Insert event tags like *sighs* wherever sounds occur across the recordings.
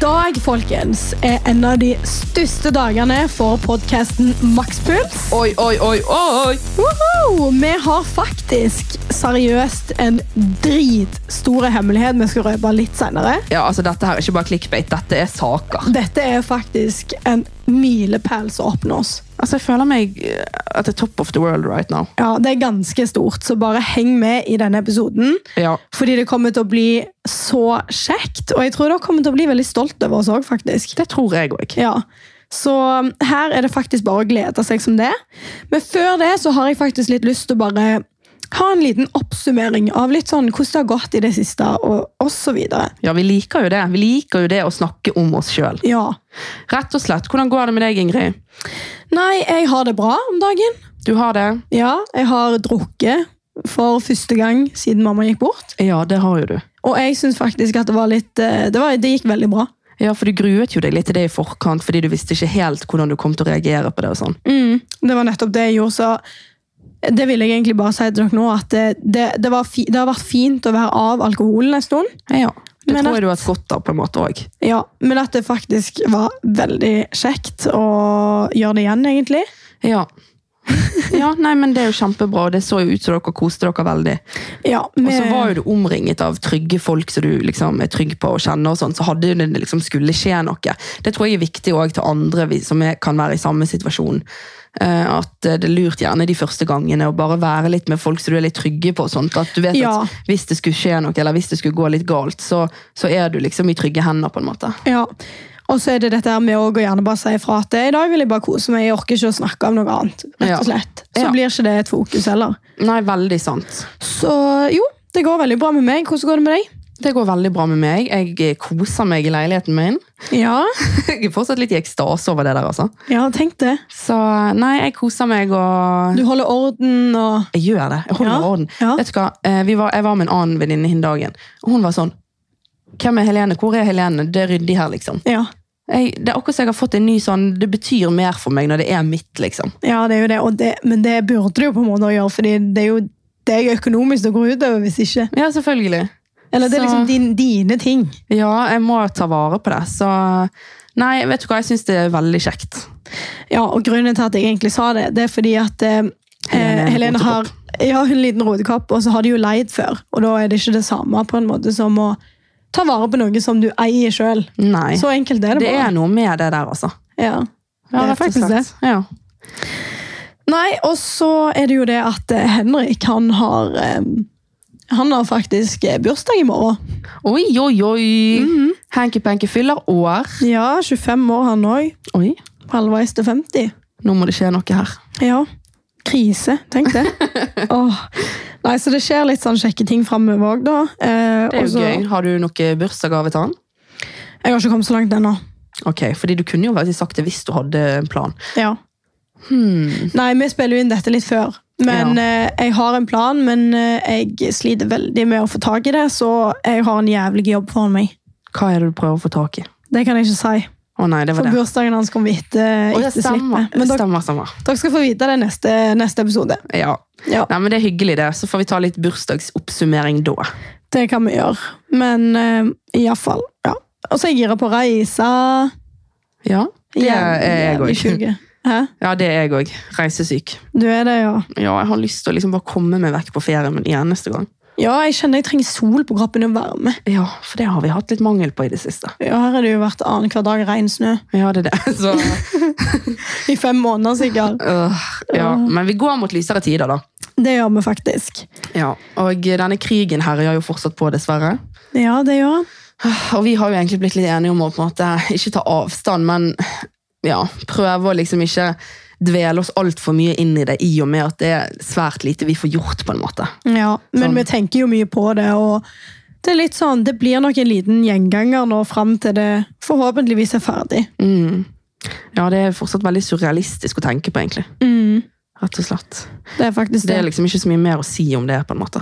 dag, folkens, er en av de største dagene for podkasten Makspuls. Oi, oi, oi, oi! Woho! Vi har faktisk seriøst en dritstor hemmelighet vi skal røpe litt senere. Ja, altså Dette her er ikke bare clickbait, dette er saker. Dette er faktisk en milepæl som oppnås. Altså, Jeg føler meg eh, at det er top of the world right now. Ja, Det er ganske stort, så bare heng med i denne episoden. Ja. Fordi det kommer til å bli så kjekt, og jeg tror dere kommer til å bli veldig stolt over oss òg, faktisk. Det tror jeg òg. Ja. Så um, her er det faktisk bare å glede seg som det. Men før det så har jeg faktisk litt lyst til å bare ha en liten oppsummering av litt sånn hvordan det har gått i det siste, og, og så videre. Ja, vi liker jo det. Vi liker jo det å snakke om oss sjøl. Ja. Rett og slett. Hvordan går det med deg, Ingrid? Nei, jeg har det bra om dagen. Du har det? Ja, jeg har drukket for første gang siden mamma gikk bort. Ja, det har jo du. Og jeg syns faktisk at det var litt eh, det, var, det gikk veldig bra. Ja, for du gruet jo deg litt til det i forkant, fordi du visste ikke helt hvordan du kom til å reagere på det og sånn. Mm, det var nettopp det jeg gjorde, så det vil jeg egentlig bare si til dere nå, at det, det, det, var fi, det har vært fint å være av alkoholen en stund. Ja. Det Men tror at- jeg du har hatt godt av på en måte òg. Ja, men at det faktisk var veldig kjekt å gjøre det igjen, egentlig. Ja. *laughs* ja, nei, men det er jo kjempebra, og det så jo ut som dere koste dere veldig. Ja, Og så med- var jo du omringet av trygge folk som du liksom er trygg på og kjenner, og sånn, så hadde jo det liksom skulle skje noe. Det tror jeg er viktig også til andre vi- som er, kan være i samme situasjon. Eh, At eh, det er lurt gjerne de første gangene å bare være litt med folk som du er litt trygge på. og sånt, At du vet Ja. at hvis det skulle skje noe, eller hvis det skulle gå litt galt, så, så er du liksom i trygge hender. på en måte. ja. Og så er det dette her med å gå gjerne bare si ifra at i dag vil jeg bare kose meg, jeg orker ikke å snakke om noe annet. rett Ja. og slett. Så Ja. blir ikke det et fokus heller. Nei, veldig sant. Så jo, det går veldig bra med meg. Hvordan går det med deg? Det går veldig bra med meg. Jeg eh, koser meg i leiligheten min. *laughs* Ja, Jeg er fortsatt litt i ekstase over det der, altså. ja tenk det. Så eh, nei, jeg koser meg og Du holder orden og Jeg gjør det. Jeg holder Ja, orden. ja. Vet du hva? Eh, Vi var, jeg var med en annen venninne hin dagen, og hun var sånn Hvem er Helene? Hvor er Helene? Det er ryddig her, liksom. Ja. Jeg, det er akkurat som jeg har fått en ny sånn Det betyr mer for meg når det er mitt, liksom. Ja, det er jo det. Og det, men det burde du jo på en måte å gjøre, fordi det er jo det er jo økonomisk å gå utover hvis ikke. Ja, selvfølgelig. Eller det er Så- liksom din, dine ting. Ja, jeg må ta vare på det. Så Nei, vet du hva, jeg syns det er veldig kjekt. Ja, og grunnen til at jeg egentlig sa det, det er fordi at eh, Helene er eh, en Helene har ja, hun er en liten rotekopp, og så har de jo leid før. Og da er det ikke det samme på en måte som å ta vare på noe som du eier sjøl. Nei. Så enkelt er det det bare. er noe med det der, altså. Ja. Det Ja, er rett og faktisk slett. Ja. Nei, og så er det jo det at eh, Henrik, han har eh, han har faktisk eh, bursdag i morgen. Oi, oi, oi! Mhm. Hanky Panky fyller år. Ja, 25 år han òg. Oi, Halvveis til 50. nå må det skje noe her. Ja. Krise, tenk det. *laughs* Åh. Nei, så det skjer litt sånn kjekke ting framover òg, da. Eh, Det er og jo så- gøy. Har du noe bursdagsgave til han? Jeg har ikke kommet så langt ennå. Ok, fordi du kunne jo faktisk sagt det hvis du hadde en plan. Ja. Hmm. Nei, vi spiller jo inn dette litt før. Men eh, jeg har en plan, men eh, jeg sliter veldig med å få tak i det, så jeg har en jævlig jobb foran meg. Hva er det du prøver å få tak i? Det kan jeg ikke si. Å nei, det var For det. bursdagen hans kommer etter, Å, det etter stemmer. slippet. Men dere, stemmer, stemmer. dere skal få vite det neste, neste episode. Ja. Ja, Nei, men Det er hyggelig, det. Så får vi ta litt bursdagsoppsummering da. Det kan vi gjøre. Men uh, iallfall. Ja. Og så er jeg gira på å reise. Ja, det Jævlig, er jeg jævlig òg. sjuke. Hæ? Ja, det er jeg òg. Reisesyk. Du er det, ja. Ja, jeg har lyst til å liksom bare komme meg vekk på ferie med en eneste gang. Ja, jeg kjenner jeg trenger sol på kroppen og varme. Ja, for det har vi hatt litt mangel på i det siste. Ja, her har det jo vært annenhver dag regn snø. Ja, det *laughs* er det. Så, I fem måneder, sikkert. øh, ja. Men vi går mot lysere tider, da. *laughs* Det gjør vi faktisk. Ja, og denne krigen herjer jo fortsatt på, dessverre. Ja, det gjør han. *sighs* Og vi har jo egentlig blitt litt enige om å på en måte ikke ta avstand, men ja, prøve å liksom ikke dvele oss altfor mye inn i det, i og med at det er svært lite vi får gjort, på en måte. Ja, men Sånn. vi tenker jo mye på det, og det er litt sånn, det blir nok en liten gjenganger nå fram til det forhåpentligvis er ferdig. Mm. Ja, det er fortsatt veldig surrealistisk å tenke på, egentlig. Rett og slett. Det er faktisk Det det. er liksom ikke så mye mer å si om det, på en måte.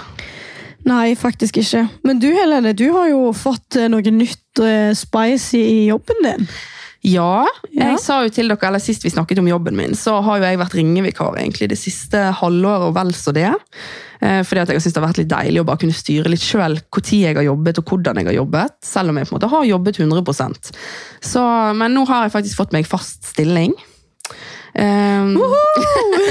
Nei, faktisk ikke. Men du, Helene, du har jo fått eh, noe nytt eh, spice i jobben din. Ja, jeg Ja. sa jo til dere, eller sist vi snakket om jobben min, så har jo jeg vært ringevikar egentlig det siste halvåret og vel så det. Eh, Fordi at jeg synes det har vært litt deilig å bare kunne styre litt selv hvor tid jeg har jobbet og hvordan jeg har jobbet, selv om jeg på en måte har jobbet 100%. Så, men nå har jeg faktisk fått meg fast stilling. Um,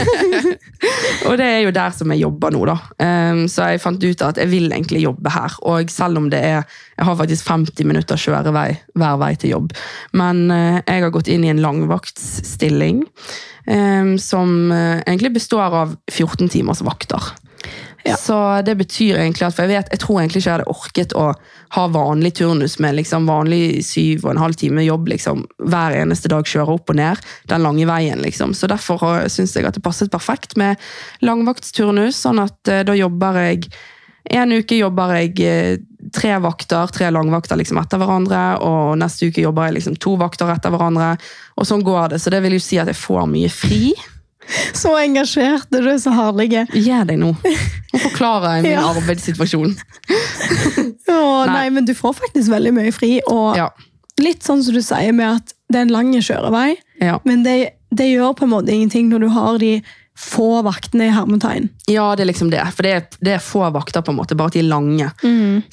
og det er jo der som jeg jobber nå da um, Så jeg fant ut at jeg vil egentlig jobbe her Og selv om det er Jeg har faktisk 50 minutter kjørevei Hver vei til jobb Men eh, jeg har gått inn i en langvaktsstilling um, Som eh, egentlig består av 14 timers vakter Ja. Så det betyr egentlig at For jeg vet, jeg tror egentlig ikke jeg hadde orket Å ha vanlig turnus med liksom Vanlig syv og en halv time jobb liksom, Hver eneste dag kjøre opp og ned Den lange veien liksom Så derfor har- synes jeg at det passet perfekt med langvaktsturnus Sånn at eh, da jobber jeg En uke jobber jeg eh, Tre vakter, tre langvakter liksom etter hverandre Og neste uke jobber jeg liksom to vakter etter hverandre Og sånn går det Så det vil jo si at jeg får mye fri Så engasjerte, du er så herlige. Gjør deg nå. Nå forklarer jeg min Ja. arbeidssituasjon. Å, nei. Nei. men du får faktisk veldig mye fri. Og Ja. litt sånn som du sier med at det er en lang kjørevei, Ja. men det, det gjør på en måte ingenting når du har de få vaktene i hermetegn. ja, det er liksom det. For det er, det er få vakter, på en måte, bare at de er lange.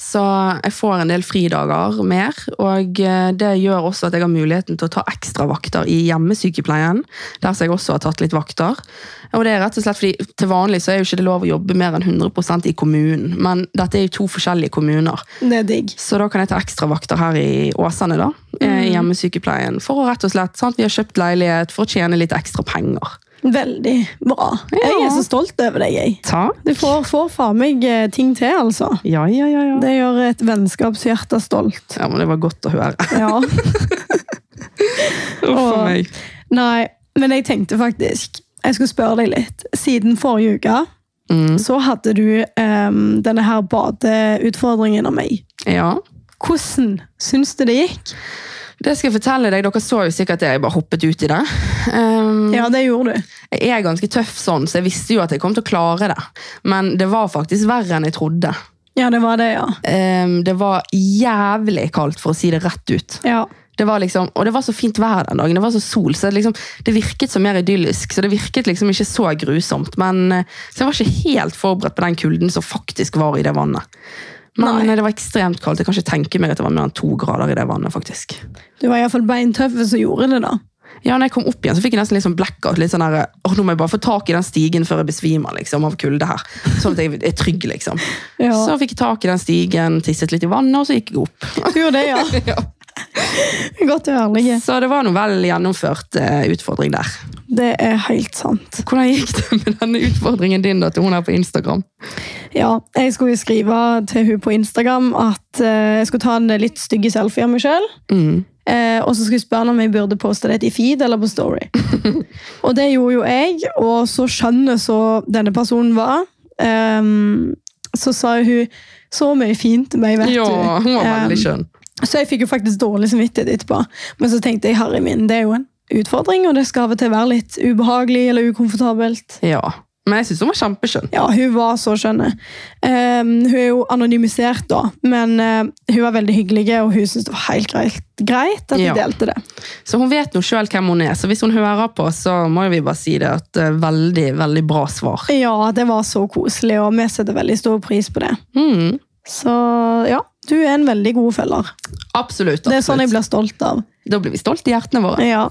Så jeg får en del fridager mer, og eh, det gjør også at jeg har muligheten til å ta ekstra vakter i hjemmesykepleien, der som jeg også har tatt litt vakter. Og det er rett og slett fordi til vanlig så er jo ikke det lov å jobbe mer enn 100 i kommunen, men dette er jo to forskjellige kommuner. Det er digg. Så da kan jeg ta ekstravakter her i Åsane, da. eh, I hjemmesykepleien. For å rett og slett, sant? Vi har kjøpt leilighet for å tjene litt ekstra penger. Veldig bra. Jeg er så stolt over deg, jeg. Takk. Du får, får faen meg eh, ting til, altså. Ja, ja, ja. ja. Det, Det gjør et vennskapshjerte *laughs* stolt. ja men det var godt å høre. Ja. Uff Åh. a meg. Nei, men jeg tenkte faktisk Jeg skulle spørre deg litt. Siden forrige uke Mm. så hadde du em, denne her badeutfordringen av meg. Ja. Hvordan syns du det gikk? Det skal jeg fortelle deg. Dere så jo sikkert det. Jeg bare hoppet ut i det. Um, Ja, det gjorde du. Jeg er ganske tøff sånn, så jeg visste jo at jeg kom til å klare det. Men det var faktisk verre enn jeg trodde. Ja, det var det, ja. Um, det var jævlig kaldt, for å si det rett ut. Ja, Det var liksom, og det var så fint vær den dagen. Det var så sol, så det, liksom, det virket så mer idyllisk. Så det virket liksom ikke så grusomt. Men, eh, så jeg var ikke helt forberedt på den kulden som faktisk var i det vannet. Men Nei. eh, det var ekstremt kaldt. Jeg kan ikke tenke meg at det var mer enn to grader i det vannet. faktisk. Du var iallfall beintøff som gjorde det, da. Ja, når jeg kom opp igjen, så fikk jeg nesten litt sånn blackout. litt sånn der, åh, Nå må jeg bare få tak i den stigen før jeg besvimer liksom, av kulde her. Sånn at jeg er trygg, liksom. Ja. Så fikk jeg tak i den stigen, tisset litt i vannet, og så gikk jeg opp. *laughs* Du gjorde det, ja. Ja. *laughs* Godt og ærlig. Så det var nå vel gjennomført eh, utfordring der. Det er helt sant. Hvordan gikk det med denne utfordringen din da, til hun her på Instagram? Ja, jeg skulle skrive til hun på Instagram at eh, jeg skulle ta en litt stygge selfie av meg sjøl. Mm. og så skulle jeg spørre henne om jeg burde poste det i feed eller på Story. *laughs* og det gjorde jo jeg, og så skjønner så denne personen var. ehm, så sa hun så mye fint til meg, vet ja, du. hun var Ehm, veldig skjønn. så jeg fikk jo faktisk dårlig samvittighet etterpå. Men så tenkte jeg herre min, det er jo en utfordring, og det skal av og til være litt ubehagelig eller ukomfortabelt. Ja. Men jeg syns hun var kjempeskjønn. Ja, hun var så skjønne. Ehm, hun er jo anonymisert, da, men eh, hun var veldig hyggelig, og hun syntes det var helt greit, greit at vi Ja. delte det. Så hun vet nå sjøl hvem hun er, så hvis hun hører på, så må jo vi bare si det at eh, veldig, veldig bra svar. Ja, det var så koselig, og vi setter veldig stor pris på det. Mm. Så ja, du er en veldig god følger. Absolutt. Det er sånn jeg absolutt. blir stolt av. Da blir vi stolte i hjertene våre. Ja.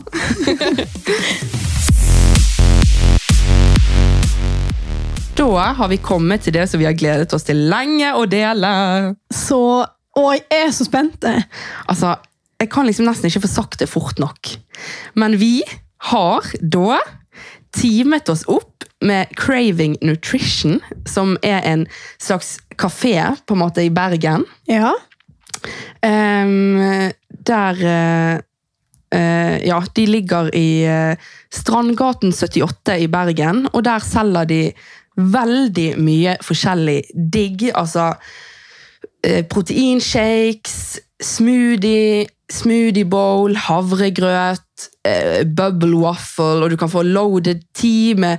Da har vi kommet til det som vi har gledet oss til lenge å dele. Så Å, jeg er så spent! Altså, jeg kan liksom nesten ikke få sagt det fort nok. Men vi har da teamet oss opp med Craving Nutrition, som er en slags kafé på en måte i Bergen. Ja. Ehm, der eh, eh, Ja, de ligger i eh, Strandgaten 78 i Bergen, og der selger de veldig mye forskjellig digg. Altså eh, proteinshakes, smoothie, smoothie bowl, havregrøt, eh, bubble waffle, og du kan få loaded tea med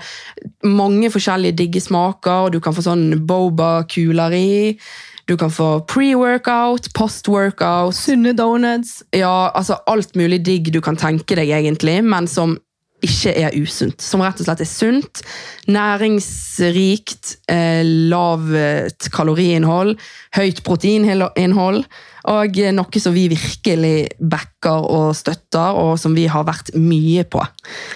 mange forskjellige digge smaker, og du kan få sånn boba-kuler i. Du kan få pre-workout, post-workout, Sunne donuts. ja, altså alt mulig digg du kan tenke deg egentlig, men som ikke er usunt. Som rett og slett er sunt, næringsrikt, eh, lavt kaloriinnhold, høyt proteininnhold, og eh, noe som vi virkelig backer og støtter, og som vi har vært mye på.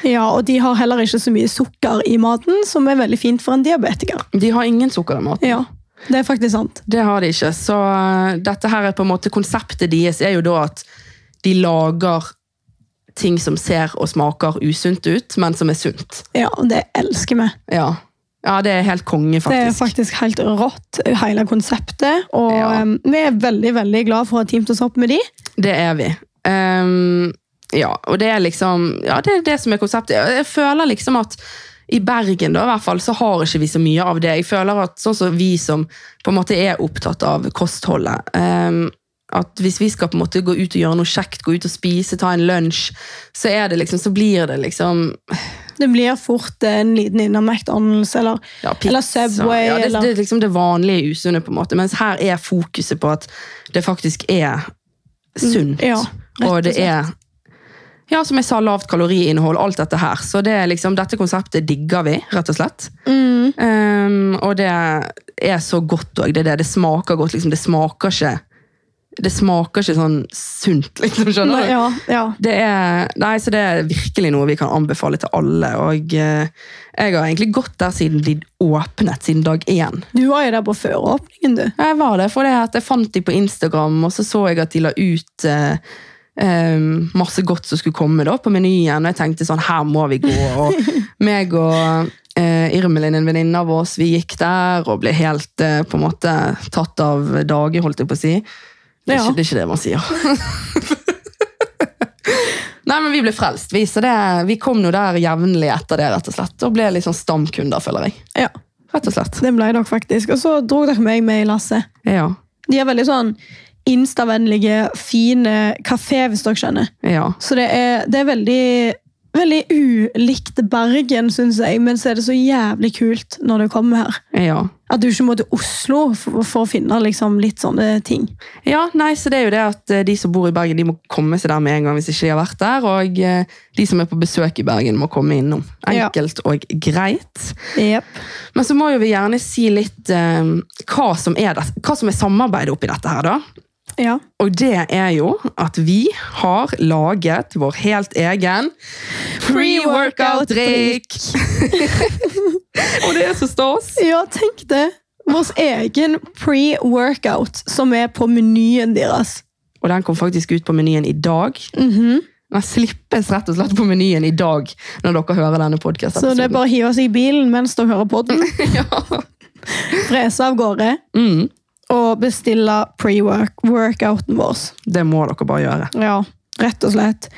Ja, og de har heller ikke så mye sukker i maten, som er veldig fint for en diabetiker. De har ingen sukker i maten. Ja, det er faktisk sant. Det har de ikke. Så eh, dette her er på en måte konseptet deres er jo da at de lager ting som ser og smaker usunt ut, men som er sunt. Ja, og det elsker vi. Ja, ja det er helt konge, Det er faktisk. faktisk helt rått, hele konseptet. Og Ja. eh, vi er veldig veldig glad for å ha teamt oss opp med de. Det er vi. Ehm, ja, og det er liksom Ja, det er det som er konseptet. Jeg jeg føler liksom at i Bergen da, i hvert fall, så har ikke vi så mye av det. Jeg føler at sånn som vi som på en måte er opptatt av kostholdet ehm, At hvis vi skal på en måte gå ut og gjøre noe kjekt, gå ut og spise, ta en lunsj, så er det liksom, så blir det liksom Det blir fort en liten innom McDonald's eller ja, pizza. Eller Subway, Ja, det, eller- det er liksom det vanlige usunne, på en måte. Mens her er fokuset på at det faktisk er Mm, sunt. ja, rett og og det slett. er ja, som jeg sa, lavt kaloriinnhold, alt dette her. Så det er liksom, dette konseptet digger vi, rett og slett. Mm. Um, og det er så godt òg. Det, er det. det smaker godt. Liksom. Det smaker ikke Det smaker ikke sånn sunt, liksom. Skjønner du? Ja, ja. Det er, nei, så det er virkelig noe vi kan anbefale til alle. Og eh, jeg har egentlig gått der siden de åpnet, siden dag én. Du var jo der på føråpningen, du. Jeg var det, for det at jeg fant de på Instagram, og så så jeg at de la ut eh, eh, masse godt som skulle komme da, på menyen, og jeg tenkte sånn, her må vi gå. Og meg og eh, Irmelin, en venninne av oss, vi gikk der og ble helt eh, på en måte tatt av dage, holdt jeg på å si. Det er, Ja. ikke, det er ikke det man sier. *laughs* Nei, men vi ble frelst, vi. Så det, vi kom nå der jevnlig etter det, rett og slett. Og ble litt sånn stamkunder, føler jeg. Ja, Rett og slett. det ble dere faktisk. Og så dro dere meg med i lasset. Ja. De er veldig sånn instavennlige, fine kafé, hvis dere skjønner. Ja. Så det er, det er veldig, veldig ulikt Bergen, syns jeg. Men så er det så jævlig kult når du kommer her. Ja. At du ikke må til Oslo for, for å finne liksom, litt sånne ting. Ja, nei, så det er jo det at eh, de som bor i Bergen, de må komme seg der med en gang hvis ikke de har vært der, og eh, de som er på besøk i Bergen må komme innom. Ja. Enkelt og greit. Men så må jo vi gjerne si litt eh, hva, som er det, hva som er samarbeidet oppi dette her, da. Ja. Og det er jo at vi har laget vår helt egen pre-workout-drikk! *laughs* og det er så stas! ja, tenk det! Vår egen pre-workout som er på menyen deres. Og den kom faktisk ut på menyen i dag. Mhm. Den slippes rett og slett på menyen i dag når dere hører denne podkasten. Så det er bare å hive oss i bilen mens dere hører på den, ja. frese av gårde mm, og bestille pre-workouten vår. det må dere bare gjøre. Ja, rett og slett.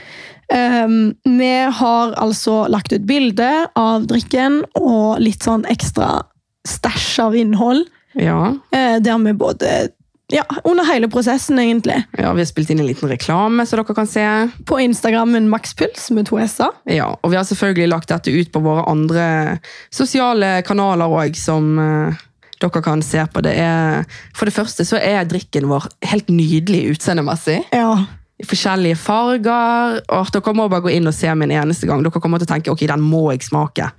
Ehm, vi har altså lagt ut bilde av drikken og litt sånn ekstra stæsj av innhold. Ja. eh, der vi både Ja, under hele prosessen, egentlig. ja, Vi har spilt inn en liten reklame, så dere kan se. På Instagrammen makspuls med to s-er. Ja, Og vi har selvfølgelig lagt dette ut på våre andre sosiale kanaler òg, som eh, dere kan se på. Det er, for det første så er drikken vår helt nydelig utseendemessig. Ja. i forskjellige farger. Og dere må bare gå inn og se med en eneste gang. Dere kommer til å tenke ok, den må jeg smake.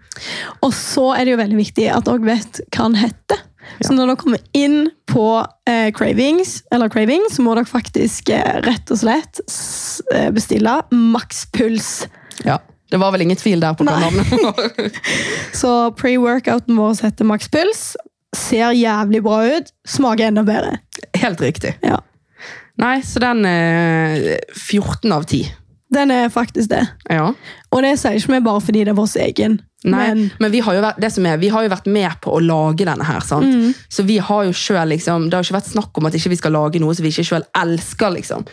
Og så er det jo veldig viktig at dere vet hva den heter. Så når dere kommer inn på eh, Cravings, eller Craving, så må dere faktisk eh, rett og slett s- eh, bestille makspuls. Ja. Det var vel ingen tvil der på hva Nei. navnet var. *laughs* Så pre-workouten vår heter Max Puls. Ser jævlig bra ut. Smaker enda bedre. Helt riktig. Ja. Nei, så den er 14 av 10. Den er faktisk det. Ja. Og det sier ikke vi bare fordi det er vår egen. Nei, men, Men vi, har jo vært, det som er, vi har jo vært med på å lage denne her, sant? Så vi har jo selv, liksom, det har jo ikke vært snakk om at ikke vi skal lage noe som vi ikke selv elsker, liksom.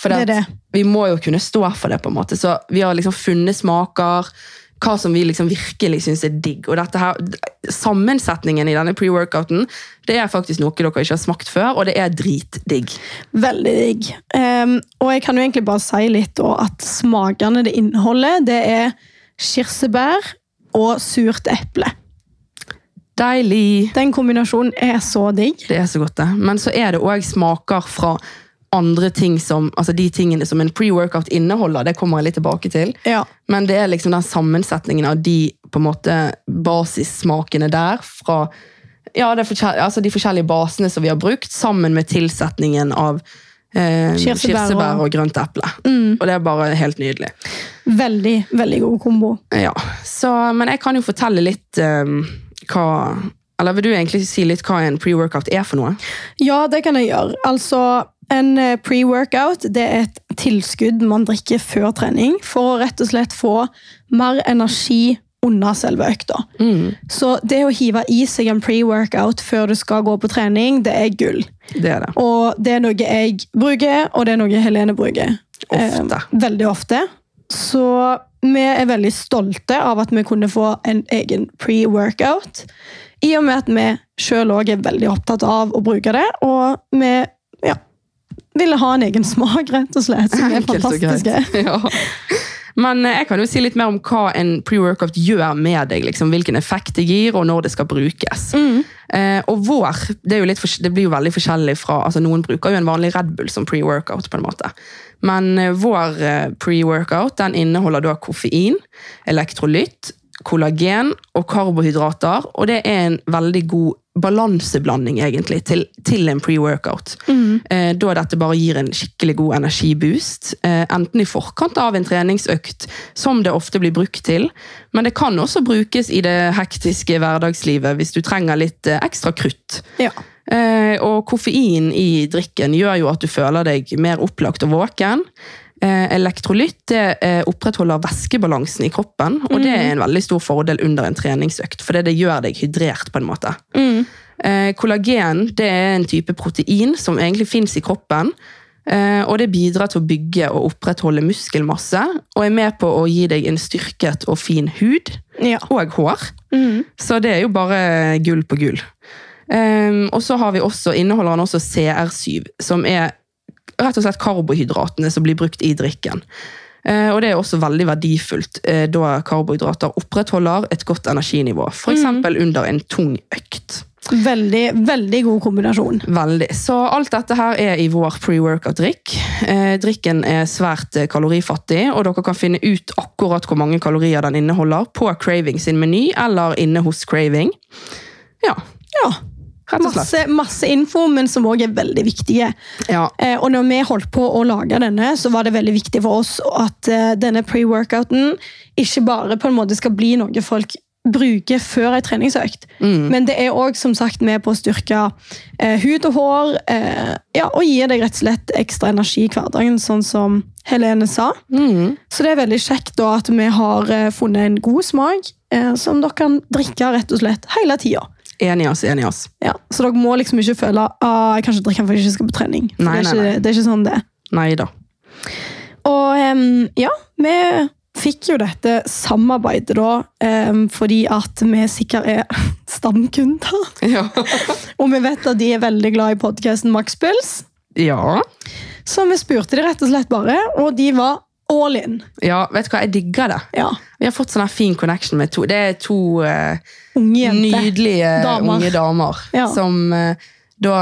For Det er det. at vi må jo kunne stå for det, på en måte. Så vi har liksom funnet smaker, hva som vi liksom virkelig synes er digg. Og dette her, sammensetningen i denne pre-workouten, det er faktisk noe dere ikke har smakt før, og det er dritdigg. veldig digg. Ehm, og jeg kan jo egentlig bare si litt da, at smakene det inneholder, det er kirsebær og surt eple. Deilig! Den kombinasjonen er så digg. Det er så godt, det. Men så er det òg smaker fra andre ting som Altså de tingene som en pre-workout inneholder, det kommer jeg litt tilbake til. Ja. Men det er liksom den sammensetningen av de på en måte basissmakene der fra ja, det er forskjell- altså de forskjellige basene som vi har brukt, sammen med tilsetningen av eh, Kirsebær kirsebær, og- Mm. og... grønt eple. Og det er bare helt nydelig. Veldig, veldig god kombo. Ja, så, Men jeg kan jo fortelle litt eh, hva Eller vil du egentlig si litt hva en pre-workout er for noe? Ja, det kan jeg gjøre. Altså, en eh, pre-workout det er et tilskudd man drikker før trening for å rett og slett få mer energi under selve økta. Så det å hive i seg en pre-workout før du skal gå på trening, det er gull. Det er det. Og det er noe jeg bruker, og det er noe Helene bruker. Ofte. Eh, veldig ofte. Så vi er veldig stolte av at vi kunne få en egen pre-workout. I og med at vi sjøl òg er veldig opptatt av å bruke det, og vi ja, ville ha en egen smak, rett og slett. *laughs* Som er Enkelt og greit. fantastiske. *laughs* Ja. Men eh, jeg kan jo si litt mer om hva en pre-workout gjør med deg. Liksom, hvilken effekt det gir, og når det skal brukes. Eh, og vår det, er jo litt, fors- det blir jo veldig forskjellig fra altså Noen bruker jo en vanlig Red Bull som pre-workout. på en måte. Men eh, vår eh, pre-workout den inneholder da koffein, elektrolytt, kollagen og karbohydrater. Og det er en veldig god balanseblanding egentlig til, til en pre-workout. Mm. Eh, da dette bare gir en skikkelig god energiboost. Eh, enten i forkant av en treningsøkt, som det ofte blir brukt til. Men det kan også brukes i det hektiske hverdagslivet hvis du trenger litt eh, ekstra krutt. Ja. Eh, og koffein i drikken gjør jo at du føler deg mer opplagt og våken. Eh, elektrolytt det, eh, opprettholder væskebalansen i kroppen, og det er en veldig stor fordel under en treningsøkt, for det, det gjør deg hydrert på en måte. Mm. Eh, kollagen det er en type protein som egentlig fins i kroppen. eh, Og det bidrar til å bygge og opprettholde muskelmasse, og er med på å gi deg en styrket og fin hud Ja. Mm. og hår. Så det er jo bare gull på gull. Ehm, og så har vi også, inneholder den også CR7, som er rett og slett karbohydratene som blir brukt i drikken. Eh, og det er også veldig verdifullt, eh, da karbohydrater opprettholder et godt energinivå. F.eks. eksempel under en tung økt. Veldig, veldig god kombinasjon. Veldig. Så alt dette her er i vår pre-workout-drikk. Eh, drikken er svært eh, kalorifattig, og dere kan finne ut akkurat hvor mange kalorier den inneholder på Craving sin meny eller inne hos Craving. Ja, Ja. rett og slett. Masse, masse info, men som òg er veldig viktige. Ja, Eh, og når vi holdt på å lage denne, så var det veldig viktig for oss at eh, denne pre-workouten ikke bare på en måte skal bli noe folk bruker før ei treningsøkt. Mm. Men det er òg som sagt med på å styrke eh, hud og hår eh, ja, og gi deg rett og slett ekstra energi i hverdagen, sånn som Helene sa. Mm. Så det er veldig kjekt da at vi har eh, funnet en god smak eh, som dere kan drikke rett og slett hele tida. enig i oss, enig i oss. Ja, så dere må liksom ikke føle at ah, jeg kan ikke drikke den for jeg ikke skal på trening. For Nei, det, er nei, ikke, nei. det er ikke sånn det er. Nei da. Og em, ja, vi fikk jo dette samarbeidet da, em, fordi at vi sikkert er *laughs* stamkunder. Ja. Og vi vet at de er veldig glad i podkasten Maxpuls. ja. Så vi spurte de rett og slett bare, og de var all in. Ja, vet du hva, jeg digger det. Ja, Vi har fått sånn her fin connection med to. Det er to eh, Unge jenter. nydelige Damer. unge damer Ja. som eh, da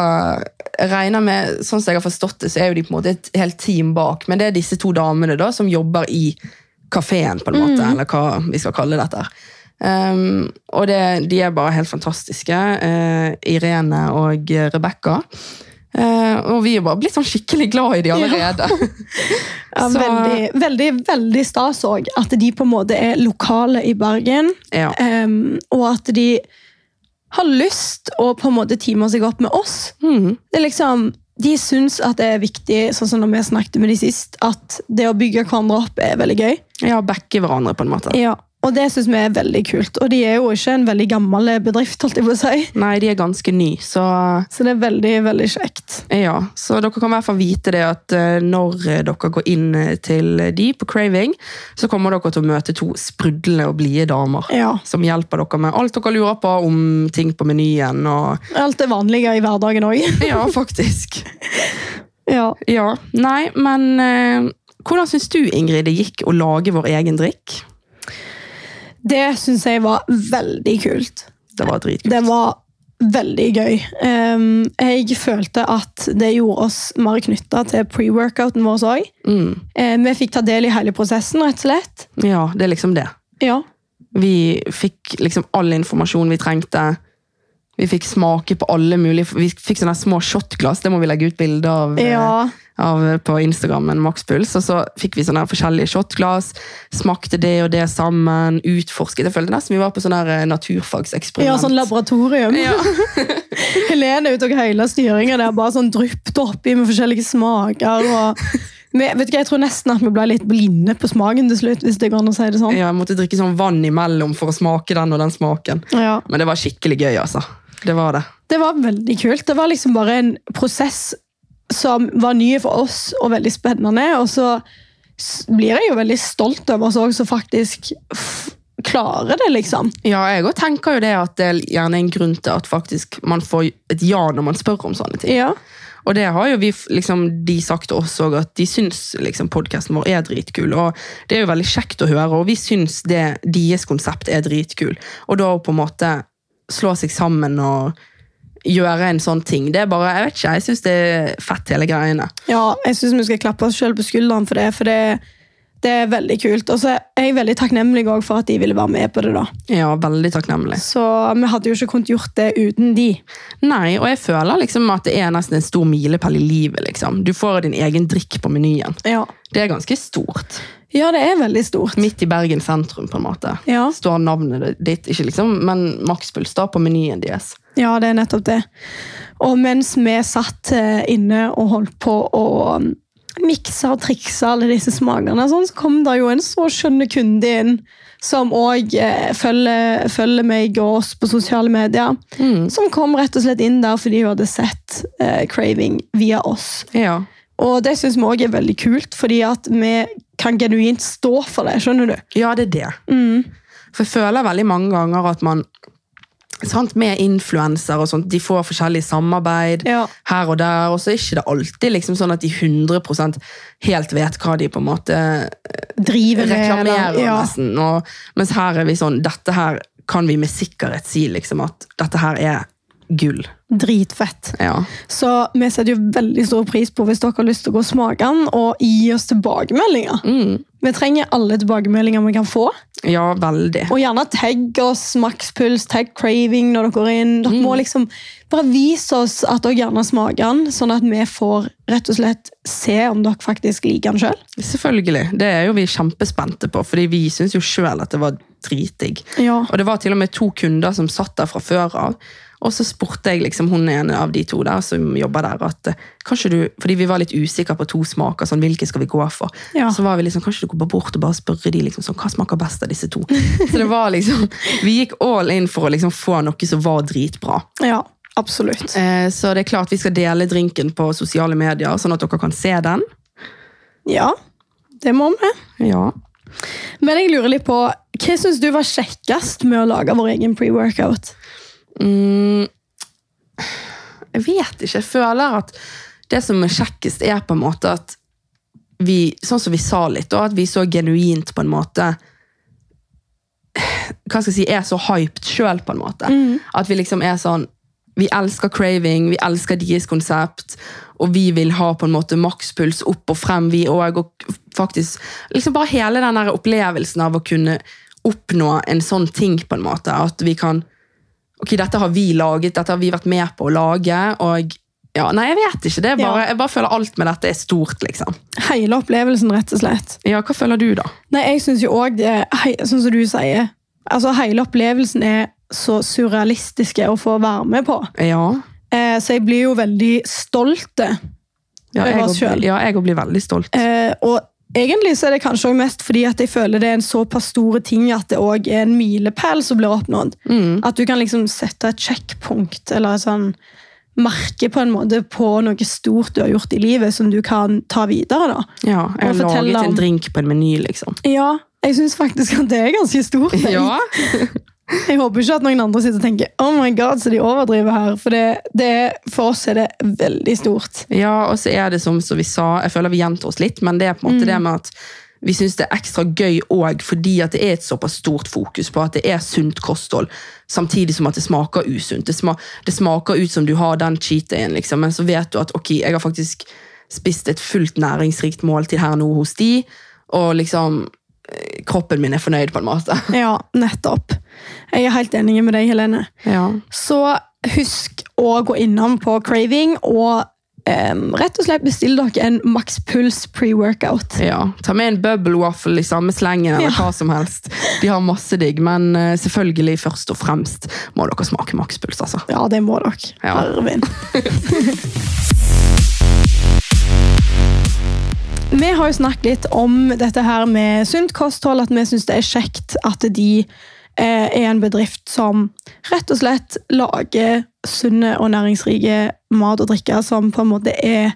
regner med, sånn som jeg har forstått det, så er jo de på en måte et helt team bak, men det er disse to damene da som jobber i kaféen på en måte, Mm. eller hva vi skal kalle dette. her. Um, og det, de er bare helt fantastiske, eh, Irene og Rebekka. Eh, og vi er bare blitt sånn skikkelig glad i de allerede. *laughs* *laughs* Ja, Så- veldig, veldig, veldig stas òg at de på en måte er lokale i Bergen. Ja. em, og at de har lyst å på en måte time seg opp med oss. Mhm. det er liksom, de syns at det er viktig, sånn som når vi snakket med de sist, at det å bygge hverandre opp er veldig gøy. Ja, backe hverandre på en måte. Og det syns vi er veldig kult. Og de er jo ikke en veldig gammel bedrift, holdt jeg på å si. Nei, de er ganske ny, så Så det er veldig, veldig kjekt. Ja, så dere kan i hvert fall vite det at eh, når dere går inn eh, til de på Craving, så kommer dere til å møte to sprudlende og blide damer. Ja. Som hjelper dere med alt dere lurer på om ting på menyen. Og, Alt det vanlige i hverdagen òg. *laughs* ja, faktisk. Ja. *laughs* Ja, Nei, men eh, hvordan syns du, Ingrid, det gikk å lage vår egen drikk? Det syns jeg var veldig kult. det var dritkult. Det var veldig gøy. Ehm, jeg følte at det gjorde oss mer knytta til pre-workouten vår òg. Mm. vi fikk ta del i hele prosessen, rett og slett. Ja, det er liksom det. Ja. Vi fikk liksom all informasjon vi trengte. Vi fikk smake på alle mulige Vi fikk sånne små shotglass, det må vi legge ut bilde av, eh, ja. av på Instagrammen Maxpuls. Og så fikk vi sånne forskjellige shotglass, smakte det og det sammen, utforsket. Jeg følte nesten vi var på sånn der, eh, naturfagseksperiment. Ja, sånn laboratorium. Ja. *laughs* Helene utok hele styringen der, bare sånn dryppet oppi med forskjellige smaker. *laughs* Og vi, vet du hva, Jeg tror nesten at vi ble litt blinde på smaken til slutt, hvis det går an å si det sånn. ja, jeg måtte drikke sånn vann imellom for å smake den og den smaken. Ja. Men det var skikkelig gøy, altså. Det var det. Det var veldig kult. Det var liksom bare en prosess som var ny for oss, og veldig spennende. Og så s- blir jeg jo veldig stolt over oss òg, som faktisk f klarer det, liksom. Ja, jeg også tenker jo det at det er gjerne en grunn til at faktisk man får et ja når man spør om sånne ting. Ja. Og det har jo vi, f- liksom, de sagt til oss også, at de syns liksom, podkasten vår er dritkul. Og det er jo veldig kjekt å høre, og vi syns det deres konsept er dritkul. Og da å på en måte slå seg sammen og gjøre en sånn ting, det er bare Jeg vet ikke, jeg syns det er fett, hele greiene. Ja, jeg syns vi skal klappe oss sjøl på skulderen for det, for det, det er veldig kult. Og så er jeg veldig takknemlig også for at de ville være med på det. da. Ja, veldig takknemlig. Så vi hadde jo ikke kunnet gjort det uten de. Nei, og jeg føler liksom at det er nesten en stor milepæl i livet, liksom. Du får din egen drikk på menyen. Ja, Det er ganske stort. ja det er veldig stort. Midt i Bergen sentrum, på en måte. Ja. Står navnet ditt, ikke liksom, men makspuls da på menyen deres. Ja, det er nettopp det. Og mens vi satt eh, inne og holdt på å um, mikse og trikse alle disse smakene, og sånn, så kom det jo en så skjønne kunde inn, som òg eh, følger, følger meg og oss på sosiale medier. Mm. Som kom rett og slett inn der fordi hun hadde sett eh, Craving via oss. Ja. Og det syns vi òg er veldig kult, fordi at vi kan genuint stå for det. skjønner du? ja, det er det. For jeg føler veldig mange ganger at man sant, Med influenser og sånt, de får forskjellig samarbeid Ja. her og der, og så er ikke det alltid liksom sånn at de 100 helt vet hva de på en måte Driver med, eller- reklamerer ja. nesten. Og, mens her er vi sånn Dette her kan vi med sikkerhet si liksom at dette her er gull. Dritfett. Ja. Så vi setter jo veldig stor pris på hvis dere har lyst til å gå og smake den og gi oss tilbakemeldinger. Vi trenger alle tilbakemeldinger vi kan få. Ja, veldig. Og gjerne tagg oss makspuls, tagg craving når dere går inn. Dere må liksom bare vise oss at dere gjerne smaker den, sånn at vi får rett og slett se om dere faktisk liker den sjøl. Selvfølgelig. Det er jo vi kjempespente på, fordi vi syns jo sjøl at det var dritdigg. Ja. Og det var til og med to kunder som satt der fra før av. Og så spurte jeg liksom hun ene av de to der som jobber der, at eh, kanskje du Fordi vi var litt usikre på to smaker, sånn hvilke skal vi gå for? Ja. Så var vi liksom, kanskje du går bare bort og bare spørre de liksom sånn, hva smaker best av disse to? *laughs* Så det var liksom Vi gikk all in for å liksom få noe som var dritbra. ja, absolutt. Eh, Så det er klart vi skal dele drinken på sosiale medier, sånn at dere kan se den. Ja, det må vi. Ja. Men jeg lurer litt på, hva syns du var kjekkest med å lage vår egen pre-workout? Mm, jeg vet ikke. Jeg føler at det som er kjekkest, er på en måte at vi, sånn som vi sa litt, da, at vi så genuint på en måte hva skal jeg si, er så hyped sjøl, på en måte. At vi liksom er sånn Vi elsker craving, vi elsker deres konsept, og vi vil ha på en måte makspuls opp og frem, vi òg. Og faktisk liksom bare hele den der opplevelsen av å kunne oppnå en sånn ting, på en måte. At vi kan Ok, dette har vi laget, dette har vi vært med på å lage, og ja, Nei, jeg vet ikke. det er bare, Ja. Jeg bare føler alt med dette er stort, liksom. Hele opplevelsen, rett og slett. Ja, hva føler du, da? Nei, jeg syns jo òg det hei- Sånn som du sier. Altså, hele opplevelsen er så surrealistiske å få være med på. Ja, Eh, så jeg blir jo veldig stolt. ja Over jeg oss òg- selv. ja, jeg òg blir veldig stolt. Eh, og egentlig så er det kanskje også mest fordi at jeg føler det er en såpass stor ting at det òg er en milepæl som blir oppnådd. Mm. At du kan liksom sette et sjekkpunkt eller et sånn merke på en måte på noe stort du har gjort i livet, som du kan ta videre. da. Ja, jeg Og har fortell laget om- en drink på en meny, liksom. Ja, jeg syns faktisk at det er ganske stort. jeg. *laughs* Ja, Jeg håper ikke at noen andre sitter og tenker oh my god, så de overdriver her. For, det, det, er- for oss er det veldig stort. Mm. ja og så er det som, som vi sa, jeg føler vi gjentar oss litt, men det er på en måte det med at vi syns det er ekstra gøy òg fordi at det er et såpass stort fokus på at det er sunt kosthold, samtidig som at det smaker usunt. Det, sma, det smaker ut som du har den cheat dayen, liksom, men så vet du at ok, jeg har faktisk spist et fullt næringsrikt måltid her nå hos de, og liksom eh, Kroppen min er fornøyd, på en måte. Ja, nettopp. Jeg er helt enig med deg, Helene. Ja. Så husk å gå innom på Craving og em, rett og slett bestille dere en Max Puls pre-workout. Ja, Ta med en bubble waffle i samme slengen Ja. eller hva som helst. De har masse digg, men eh, selvfølgelig først og fremst må dere smake makspuls. altså. Ja, det må dere. Ja. Herre min. *laughs* Vi har jo snakket litt om dette her med sunt kosthold, at vi syns det er kjekt at de eh, er en bedrift som rett og slett lager sunne og næringsrike mat og drikke som på en måte er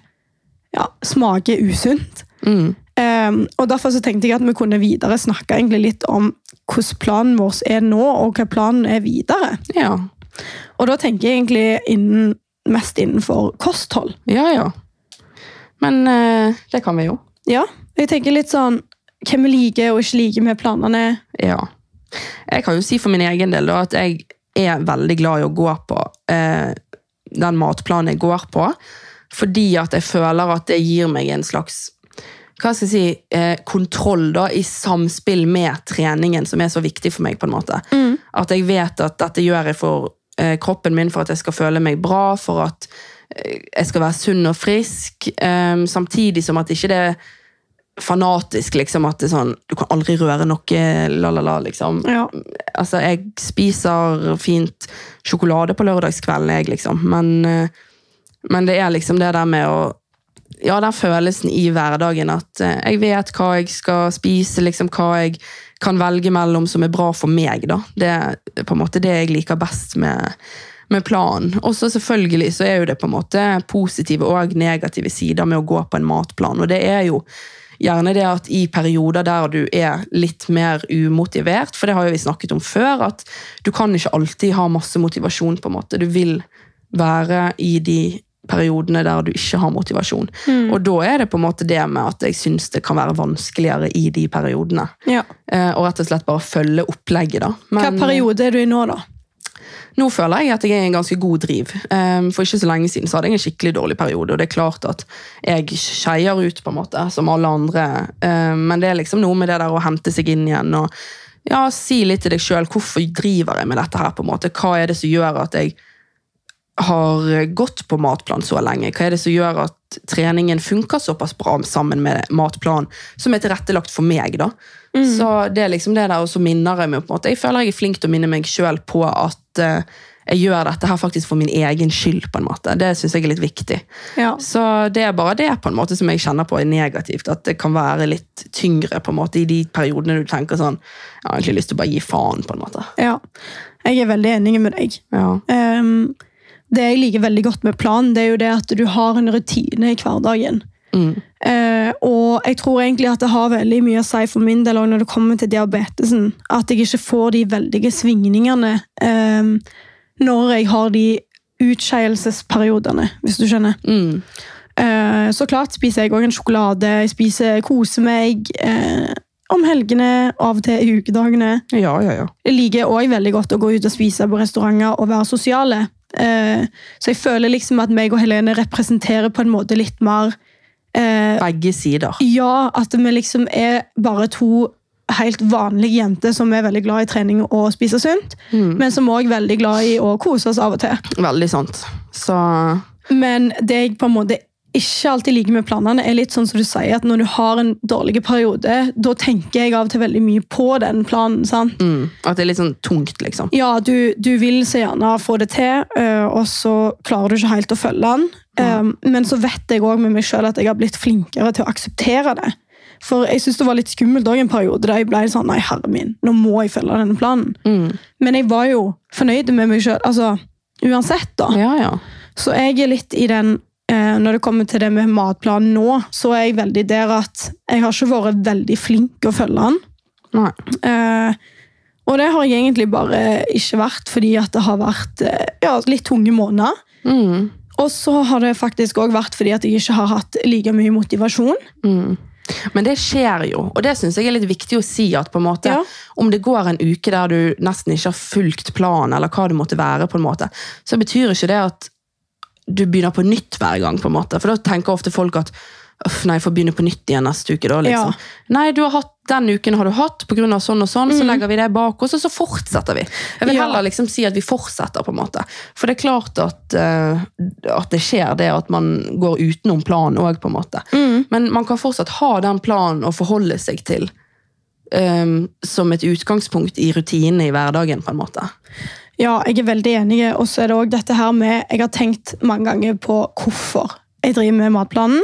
ja, smaker usunt. Mm. Ehm, og Derfor så tenkte jeg at vi kunne videre snakke egentlig litt om hvordan planen vår er nå, og hva planen er videre. Ja, Og da tenker jeg egentlig innen, mest innenfor kosthold. ja. ja. Men eh, det kan vi jo. Ja, jeg tenker litt sånn hva vi liker og ikke liker med planene. Ja. Jeg kan jo si for min egen del da, at jeg er veldig glad i å gå på eh, den matplanen jeg går på, fordi at jeg føler at det gir meg en slags hva skal jeg si, eh, kontroll da, i samspill med treningen, som er så viktig for meg. på en måte. At jeg vet at dette gjør jeg for eh, kroppen min, for at jeg skal føle meg bra, for at eh, jeg skal være sunn og frisk, eh, samtidig som at ikke det er fanatisk, liksom, at det er sånn, du kan aldri røre noe, la la la, liksom. Ja. Altså, jeg spiser fint sjokolade på lørdagskvelden, jeg, liksom, men, eh, men det er liksom det der med å ja, den følelsen i hverdagen at eh, jeg vet hva jeg skal spise, liksom hva jeg kan velge mellom som er bra for meg, da. Det er på en måte det jeg liker best med, med planen. Og så selvfølgelig så er jo det på en måte positive og negative sider med å gå på en matplan, og det er jo gjerne det at i perioder der du er litt mer umotivert, for det har jo vi snakket om før, at du kan ikke alltid ha masse motivasjon, på en måte. Du vil være i de periodene der du ikke har motivasjon. Og da er det på en måte det med at jeg syns det kan være vanskeligere i de periodene. Ja. Eh, og rett og slett bare følge opplegget, da. Hva Men- periode er du i nå, da? nå føler jeg at jeg er i en ganske god driv. Ehm, For ikke så lenge siden så hadde jeg en skikkelig dårlig periode, og det er klart at jeg skeier ut, på en måte, som alle andre. Ehm, Men det er liksom noe med det der å hente seg inn igjen og ja, si litt til deg sjøl hvorfor driver jeg med dette her, på en måte. Hva er det som gjør at jeg har gått på matplan så lenge? Hva er det som gjør at treningen funker såpass bra sammen med matplan, som er tilrettelagt for meg, da? Så det er liksom det der, og så minner jeg meg på en måte. Jeg føler jeg er flink til å minne meg sjøl på at eh, jeg gjør dette her faktisk for min egen skyld, på en måte. Det syns jeg er litt viktig. Ja. Så det er bare det på en måte som jeg kjenner på er negativt. At det kan være litt tyngre på en måte i de periodene du tenker sånn Jeg har egentlig lyst til å bare gi faen, på en måte. ja. Jeg er veldig enig med deg. Ja. Ehm, det jeg liker veldig godt med planen, det er jo det at du har en rutine i hverdagen. Mm. Eh, og jeg tror egentlig at det har veldig mye å si for min del også når det kommer til diabetesen. At jeg ikke får de veldige svingningene eh, når jeg har de utskeielsesperiodene, hvis du skjønner. Mm. Eh, så klart spiser jeg òg en sjokolade, jeg spiser, koser meg eh, om helgene, av og til i ukedagene. ja, ja, ja. Jeg liker òg veldig godt å gå ut og spise på restauranter og være sosiale. Eh, så jeg føler liksom at meg og Helene representerer på en måte litt mer eh, Begge sider. Ja, at vi liksom er bare to helt vanlige jenter som er veldig glad i trening og spise sunt, Mm. men som òg er veldig glad i å kose oss av og til. Veldig sant. Så Men det jeg på en måte ikke alltid liker med planene, er litt sånn som du sier, at når du har en dårlig periode, da tenker jeg av og til veldig mye på den planen. sant? mm. At det er litt sånn tungt, liksom. Ja, du, du vil så gjerne få det til, øh, og så klarer du ikke helt å følge den. Um, men så vet jeg òg med meg sjøl at jeg har blitt flinkere til å akseptere det. For jeg synes det var litt skummelt også en periode da jeg ble sånn Nei, herre min, nå må jeg følge denne planen. Mm. Men jeg var jo fornøyd med meg sjøl. Altså, uansett, da. Ja, ja. Så jeg er litt i den eh, Når det kommer til det med matplanen nå, så er jeg veldig der at jeg har ikke vært veldig flink å følge den. Nei. Eh, og det har jeg egentlig bare ikke vært fordi at det har vært eh, ja, litt tunge måneder. Mm. Og så har det faktisk òg vært fordi at jeg ikke har hatt like mye motivasjon. Mm. Men det skjer jo, og det syns jeg er litt viktig å si. at på en måte, Ja. Om det går en uke der du nesten ikke har fulgt planen, eller hva det måtte være, på en måte, så betyr ikke det at du begynner på nytt hver gang. på en måte. For da tenker ofte folk at Uff, nei, jeg får begynne på nytt igjen neste uke. da, liksom. Ja. Mm. Nei, du har hatt, den uken har du hatt, på grunn av sånn og sånn, så legger vi det bak oss, og så fortsetter vi. Jeg vil Ja. heller liksom si at vi fortsetter, på en måte. For det er klart at, eh, at det skjer, det at man går utenom planen òg, på en måte. Men man kan fortsatt ha den planen å forholde seg til eh, som et utgangspunkt i rutinene i hverdagen, på en måte. Ja, jeg er veldig enig. Og så er det også dette her med Jeg har tenkt mange ganger på hvorfor jeg driver med matplanen.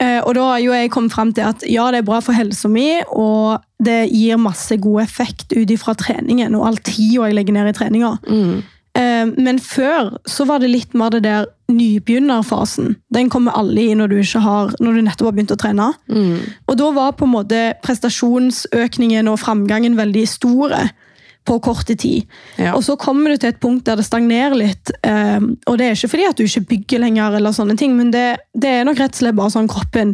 Eh, Og da har jo jeg kommet frem til at ja, det er bra for helsa mi, og det gir masse god effekt ut ifra treningen og all tida jeg legger ned i treninga. Mm. Eh, Men før så var det litt mer det der nybegynnerfasen. Den kommer alle i når du, ikke har, når du nettopp har begynt å trene. Mm. Og da var på en måte prestasjonsøkningen og framgangen veldig store på korte tid. Ja. Og så kommer du til et punkt der det stagnerer litt. eh, og det er ikke fordi at du ikke bygger lenger, eller sånne ting, men det, det er nok rett og slett bare sånn kroppen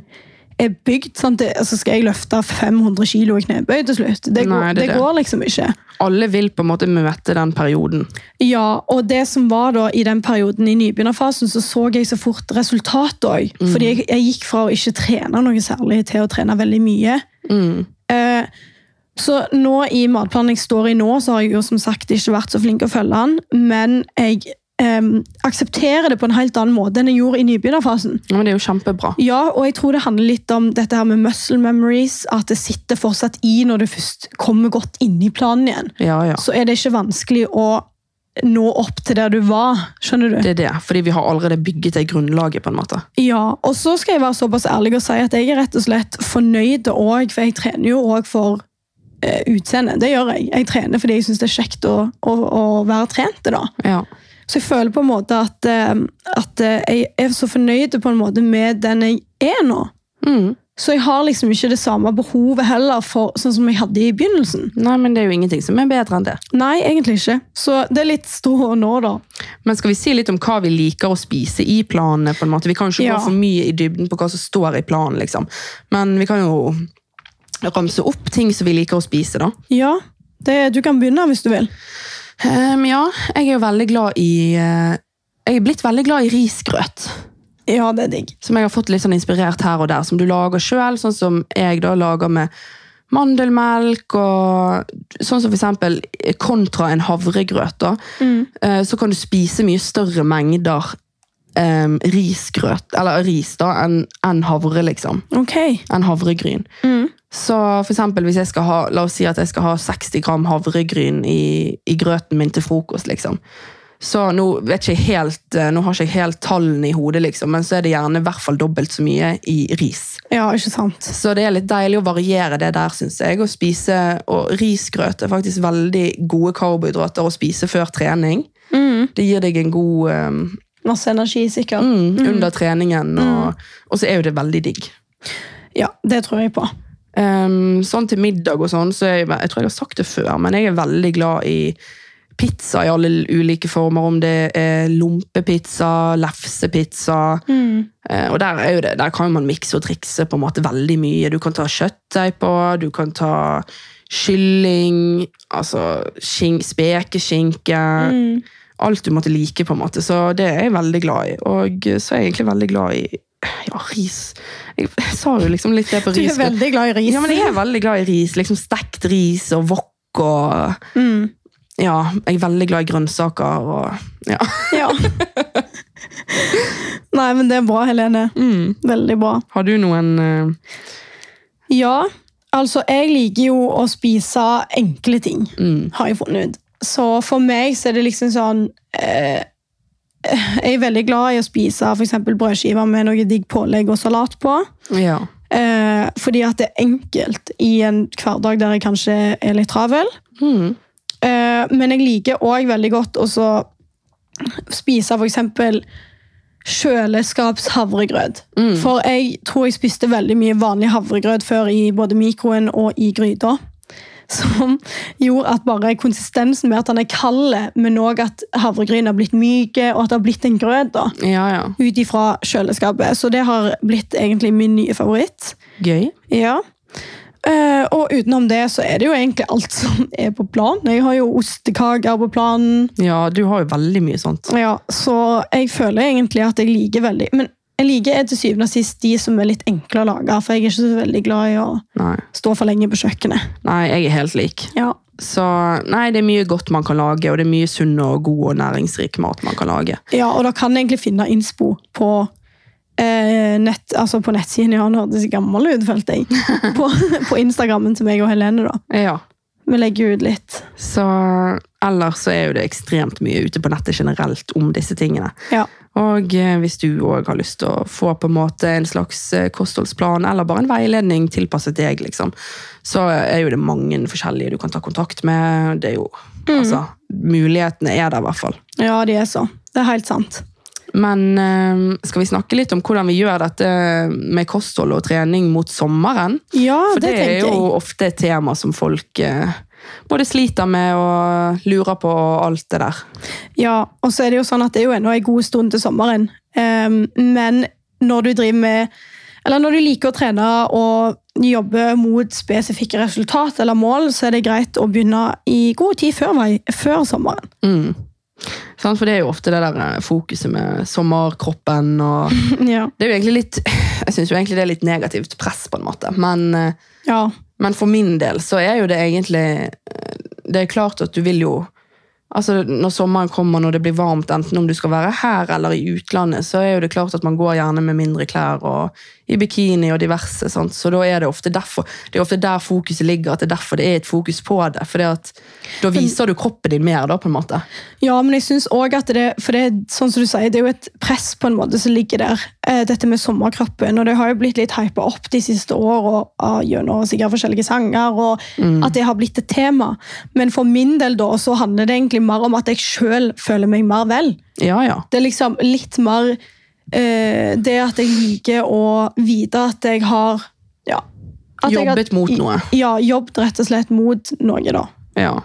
er bygd. Sant? Det, altså skal jeg løfte 500 kilo i knebøy til slutt? Det, går, Nei, det det, er det. går liksom ikke. Alle vil på en måte møte den perioden. Ja, og det som var da i den perioden i nybegynnerfasen, så så jeg så fort resultatet òg. Fordi jeg, jeg gikk fra å ikke trene noe særlig til å trene veldig mye. Eh, så nå i matplanen jeg står i nå, så har jeg jo som sagt ikke vært så flink å følge den, men jeg em, aksepterer det på en helt annen måte enn jeg gjorde i nybegynnerfasen. Ja, men det er jo kjempebra. Ja, og jeg tror det handler litt om dette her med muscle memories, at det sitter fortsatt i når du først kommer godt inn i planen igjen Ja, ja. så er det ikke vanskelig å nå opp til der du var. Skjønner du? Det er det, fordi vi har allerede bygget det grunnlaget. på en måte. Ja, og så skal jeg være såpass ærlig og si at jeg er rett og slett fornøyd òg, for jeg trener jo òg for eh, utseendet. Det gjør jeg. Jeg trener fordi jeg syns det er kjekt å, å, å være trent. da. Ja. Så jeg føler på en måte at, eh, at eh, jeg er så fornøyd på en måte med den jeg er nå. Mm. Så jeg har liksom ikke det samme behovet heller, for, sånn som jeg hadde i begynnelsen. Nei, men Det er jo ingenting som er bedre enn det. Nei, egentlig ikke. Så det er litt stå nå, da. Men skal vi si litt om hva vi liker å spise i planene? på en måte? Vi kan jo ikke Ja. gå for mye i dybden på hva som står i planen, liksom. men vi kan jo ramse opp ting som vi liker å spise. da. Ja, det, du kan begynne hvis du vil. Ehm, ja, jeg er jo veldig glad i eh, Jeg er blitt veldig glad i risgrøt. Ja, det er digg. som jeg har fått litt sånn inspirert her og der, som du lager sjøl, sånn som jeg da lager med mandelmelk og sånn som for eksempel kontra en havregrøt, da, eh, så kan du spise mye større mengder eh, risgrøt, eller ris da, enn enn havre, liksom. Ok. Enn havregryn. Mm. Så for eksempel hvis jeg skal ha, la oss si at jeg skal ha 60 gram havregryn i, i grøten min til frokost, liksom. Så nå vet jeg ikke helt, eh, nå har ikke jeg helt tallene i hodet, liksom, men så er det gjerne i hvert fall dobbelt så mye i ris. Ja, ikke sant? Så det er litt deilig å variere det der, synes jeg, og spise, og risgrøt er faktisk veldig gode karbohydrater å spise før trening. Det gir deg en god eh, Masse energi, sikkert. mm, under treningen, og, og så er jo det veldig digg. Ja, det tror jeg på. Ehm, sånn til middag og sånn, så er jeg, jeg tror jeg har sagt det før, men jeg er veldig glad i pizza i alle ulike former, om det er lompepizza, lefsepizza, Mm. Eh, og der, er jo det, der kan man mikse og trikse på en måte veldig mye. Du kan ta kjøttdeig på, du kan ta kylling, altså skin- spekeskinke, Mm. alt du måtte like på en måte, så det er jeg veldig glad i, og så er jeg egentlig veldig glad i ja, ris. Jeg, sa jo liksom litt det på Du er ris. veldig glad i ris. Ja, men jeg er veldig glad i ris. Liksom stekt ris og wok og Mm. Ja, jeg er veldig glad i grønnsaker og Ja. Ja. *laughs* Nei, men det er bra, Helene. Veldig bra. Mm. Har du noen eh, Ja, altså jeg liker jo å spise enkle ting, Mm. har jeg funnet ut. Så for meg så er det liksom sånn eh, Jeg er veldig glad i å spise for eksempel brødskiver med noe digg pålegg og salat på. Ja. Eh, fordi at det er enkelt i en hverdag der jeg kanskje er litt travel. Mm. Eh, men jeg liker òg veldig godt å så spise f.eks. kjøleskapshavregrøt. For jeg tror jeg spiste veldig mye vanlig havregrøt før i både mikroen og i gryta. *laughs* som gjorde at bare konsistensen med at han er kald, men òg at havregryn har blitt myke, og at det har blitt en grøt da, Ja, ja. ut ifra kjøleskapet. Så det har blitt egentlig min nye favoritt. Gøy. Ja. Eh, og utenom det så er det jo egentlig alt som er på planen. Jeg har jo ostekaker på planen. Ja, du har jo veldig mye sånt. Ja, så jeg føler egentlig at jeg liker veldig Men jeg liker til syvende og sist de som er litt enkle å lage, for jeg er ikke så veldig glad i å Nei, stå for lenge på kjøkkenet. nei jeg er helt lik. Ja. Så nei, det er mye godt man kan lage, og det er mye sunn og god og næringsrik mat man kan lage. ja, og da kan jeg egentlig finne innspo på eh, nett, altså på nettsiden ja, nå hørtes jeg gammel ut, følte jeg. På, på Instagrammen til meg og Helene, da. Ja. Vi legger ut litt. Så ellers så er jo det ekstremt mye ute på nettet generelt om disse tingene. Ja. Og eh, hvis du òg har lyst til å få på en måte en slags eh, kostholdsplan eller bare en veiledning tilpasset deg, liksom, så er jo det mange forskjellige du kan ta kontakt med. Det er jo, Mm. altså, Mulighetene er der i hvert fall. ja, de er så. Det er helt sant. Men eh, skal vi snakke litt om hvordan vi gjør dette med kosthold og trening mot sommeren? Ja, For det, det, er tenker jo jeg. ofte et tema som folk eh, både sliter med og lurer på og alt det der. Ja, og så er det jo sånn at det er jo ennå en god stund til sommeren. Ehm, men når du driver med Eller når du liker å trene og jobbe mot spesifikke resultat eller mål, så er det greit å begynne i god tid før, vei- før *laughs* sommeren. Mm. Sant? For det er jo ofte det der eh, fokuset med sommerkroppen og Ja. Det er jo egentlig litt *sighs* Jeg syns jo egentlig det er litt negativt press, på en måte. Men, eh, ja. men for min del så er jo det egentlig eh, Det er klart at du vil jo Altså, Når sommeren kommer, når det blir varmt, enten om du skal være her eller i utlandet, så er jo det klart at man går gjerne med mindre klær og i bikini og diverse. Sant? Så da er det ofte derfor, det er ofte der fokuset ligger, at det er derfor det er et fokus på det. For da viser du kroppen din mer, da, på en måte. Ja, men jeg synes også at det, for det er sånn som du sier, det er jo et press på en måte som ligger der. Eh, Dette med sommerkroppen, og det har jo blitt litt hypet opp de siste årene ah, gjennom sikkert forskjellige sanger, og Mm. at det har blitt et tema. Men for min del da, så handler det egentlig mer om at jeg selv føler meg mer vel. Ja, ja. Det er liksom litt mer eh, det at jeg liker å vite at jeg har ja, at jeg har- Jobbet mot noe. Ja, jobbet rett og slett mot noe da. Ja.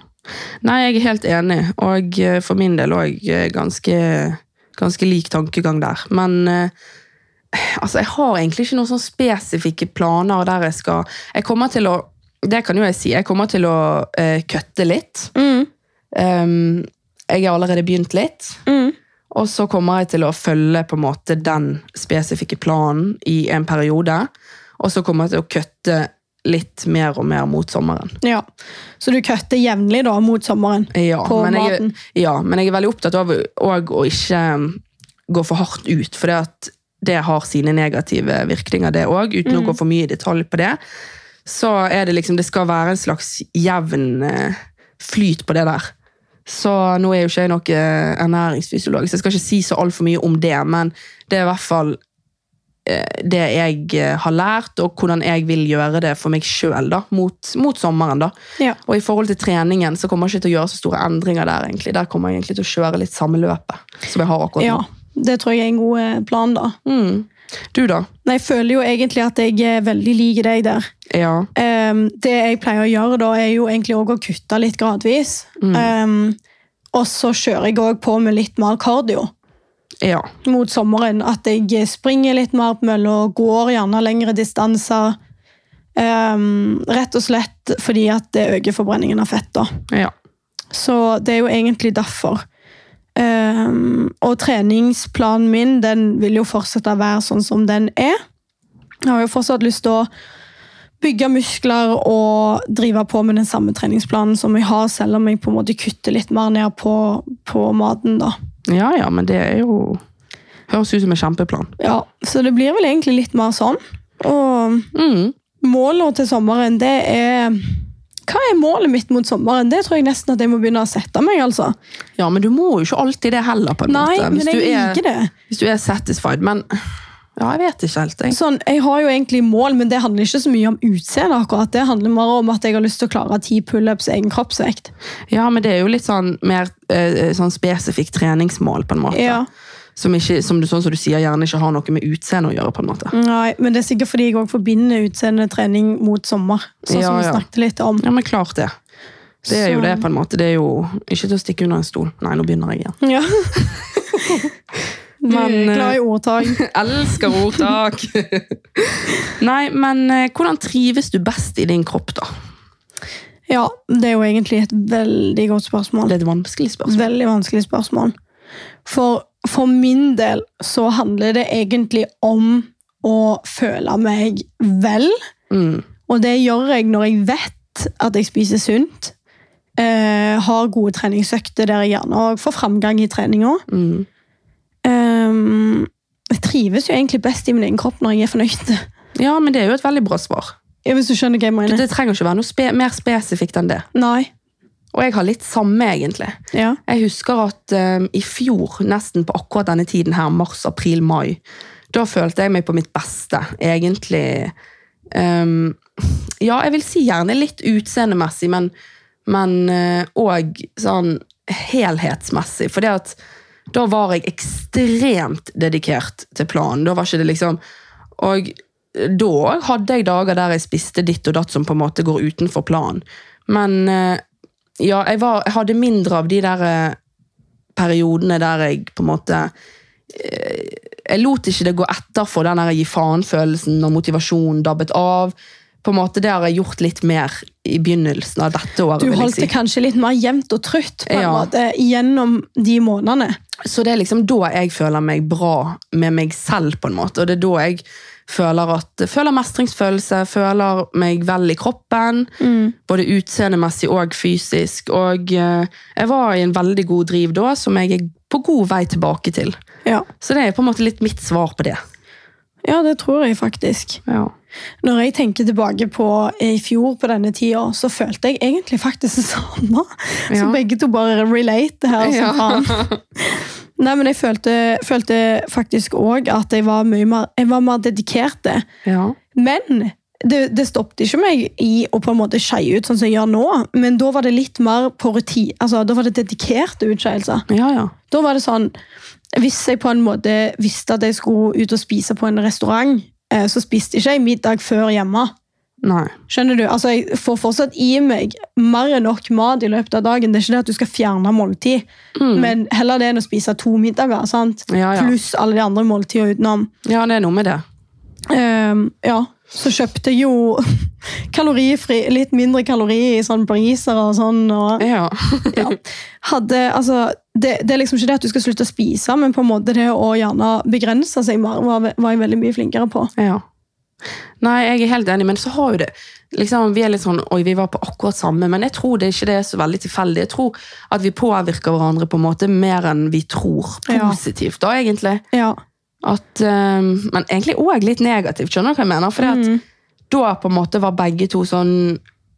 Nei, jeg er helt enig, og eh, for min del òg ganske, ganske lik tankegang der. Men eh, altså, jeg har egentlig ikke noen sånn spesifikke planer der jeg skal Jeg kommer til å Det kan jo jeg si. Jeg kommer til å eh, kutte litt. Um, jeg har allerede begynt litt. Mm. Og så kommer jeg til å følge på en måte den spesifikke planen i en periode. Og så kommer jeg til å kutte litt mer og mer mot sommeren. Ja. Så du kutter jevnlig da mot sommeren? Ja, på men jeg, maten. ja, men jeg er veldig opptatt av og å ikke um, gå for hardt ut, for det, at det har sine negative virkninger, det òg, uten Mm. å gå for mye i detalj på det. Så er det liksom, det skal være en slags jevn eh, flyt på det der. Så nå er jo ikke jeg noen ernæringsfysiolog, så jeg skal ikke si så altfor mye om det, men det er i hvert fall eh, det jeg eh, har lært, og hvordan jeg vil gjøre det for meg sjøl mot, mot sommeren. da. Ja. Og i forhold til treningen så kommer jeg ikke til å gjøre så store endringer der. egentlig. Der kommer jeg egentlig til å kjøre litt samme løpet som jeg har akkurat ja. nå. Det tror jeg er en god eh, plan, da. Mm. Du da? Nei, jeg føler jo egentlig at jeg eh, veldig liker deg der. Ja. Ehm, det jeg pleier å gjøre da, er jo egentlig også å kutte litt gradvis. Ehm, og så kjører jeg òg på med litt mer kardio Ja. mot sommeren. At jeg eh, springer litt mer på mølla, går gjerne lengre distanser. Ehm, rett og slett fordi at det øker forbrenningen av fett. da. ja. Så det er jo egentlig derfor. Ehm, og treningsplanen min den vil jo fortsette å være sånn som den er. Jeg har jo fortsatt lyst til å bygge muskler og drive på med den samme treningsplanen som jeg har, selv om jeg på en måte kutter litt mer ned på, på maten. da. Ja, ja, men det er jo Høres ut som en kjempeplan. Ja, Så det blir vel egentlig litt mer sånn. Og Mm. målene til sommeren, det er Hva er målet mitt mot sommeren? Det tror jeg nesten at jeg må begynne å sette meg. altså. Ja, men du må jo ikke alltid det heller, på en Nei, måte. men jeg du er, liker det. hvis du er satisfied. Men ja, jeg vet ikke helt. Jeg. sånn, jeg har jo egentlig mål, men det handler ikke så mye om utseende. akkurat. Det handler mer om at jeg har lyst til å klare ti pullups i egen kroppsvekt. Ja, men det er jo litt sånn mer eh, sånn spesifikt eh, treningsmål, på en måte. Ja. Som, ikke, som du, sånn som du sier, gjerne ikke har noe med utseendet å gjøre. på en måte. Nei, men det er sikkert fordi jeg også forbinder utseende trening mot sommer. Sånn Ja, som vi ja. snakket litt *laughs* om. Ja, men klart det. Det er jo Så- det, på en måte. Det er jo ikke til å stikke under en stol. Nei, nå begynner jeg igjen. Ja. Du Men, er eh, glad i ordtak. *laughs* Elsker ordtak! *laughs* Nei, men eh, hvordan trives du best i din kropp, da? *laughs* Ja, det er jo egentlig et veldig godt spørsmål. Det er et vanskelig spørsmål. Veldig vanskelig spørsmål. For, for min del så handler det egentlig om å føle meg vel. Mm. Og det gjør jeg når jeg vet at jeg spiser sunt. eh, har gode treningsøkter der jeg gjerne også får framgang i treninga. Mm. Ehm, jeg trives jo egentlig best i min egen kropp når jeg er fornøyd. *laughs* Ja, men det er jo et veldig bra svar. Ja, Hvis du skjønner hva jeg Det, mener. det trenger ikke være noe spe mer spesifikt enn det. Nei. Og jeg har litt samme, egentlig. Ja. Jeg husker at eh, i fjor, nesten på akkurat denne tiden her, mars, april, mai, da følte jeg meg på mitt beste, egentlig. ehm, ja, jeg vil si gjerne litt utseendemessig, men, men eh, og sånn helhetsmessig. For det at da var jeg ekstremt dedikert til planen. Da var ikke det liksom Og da hadde jeg dager der jeg spiste ditt og datt som på en måte går utenfor planen. Men eh, ja, jeg, var, jeg hadde mindre av de der eh, periodene der jeg på en måte eh, Jeg lot ikke det gå etter for den der gi faen-følelsen og motivasjonen dabbet av. På en måte, Det har jeg gjort litt mer i begynnelsen av dette året. Du vil jeg holdt si. det kanskje litt mer jevnt og trutt på en Ja. måte, gjennom de månedene. Så det er liksom da jeg føler meg bra med meg selv, på en måte. Og det er da jeg føler, at, føler mestringsfølelse, føler meg vel i kroppen. Både utseendemessig og fysisk. Og eh, jeg var i en veldig god driv da, som jeg er på god vei tilbake til. Ja. Så det er på en måte litt mitt svar på det. ja, det tror jeg faktisk. Ja. Når jeg tenker tilbake på eh, i fjor på denne tida, så følte jeg egentlig faktisk det *laughs* samme. Så Ja. begge to bare relate her. som Ja. faen. *laughs* Nei, men jeg følte, følte faktisk òg at jeg var mye mer, jeg var mer dedikert. det. Ja. Men det, det stoppet ikke meg i å på en måte skeie ut sånn som jeg gjør nå. Men da var det litt mer på rutin. Altså, da var det dedikerte utskeielser. ja, ja. Da var det sånn Hvis jeg på en måte visste at jeg skulle ut og spise på en restaurant, eh, så spiste ikke jeg middag før hjemme. Nei. Skjønner du? Altså, Jeg får fortsatt i meg mer enn nok mat i løpet av dagen. Det er ikke det at du skal fjerne måltid, Mm. men heller det enn å spise to middager. sant? Ja, ja. Pluss alle de andre måltidene utenom. ja, det er noe med det. Ehm, ja, så kjøpte jeg jo *laughs* kalorifri, litt mindre kalori i sånn briser og sånn. *laughs* Og Ja. hadde, altså, det, det er liksom ikke det at du skal slutte å spise, men på en måte det å gjerne begrense seg mer var, ve- var jeg veldig mye flinkere på. Ja. Nei, jeg er helt enig, men så har jo det liksom, Vi er litt sånn Oi, vi var på akkurat samme, men jeg tror det ikke det er så veldig tilfeldig. Jeg tror at vi påvirker hverandre på en måte mer enn vi tror. Ja. Positivt, da, egentlig. Ja. At, eh, men egentlig òg litt negativt, skjønner du hva jeg mener? Fordi at da på en måte var begge to sånn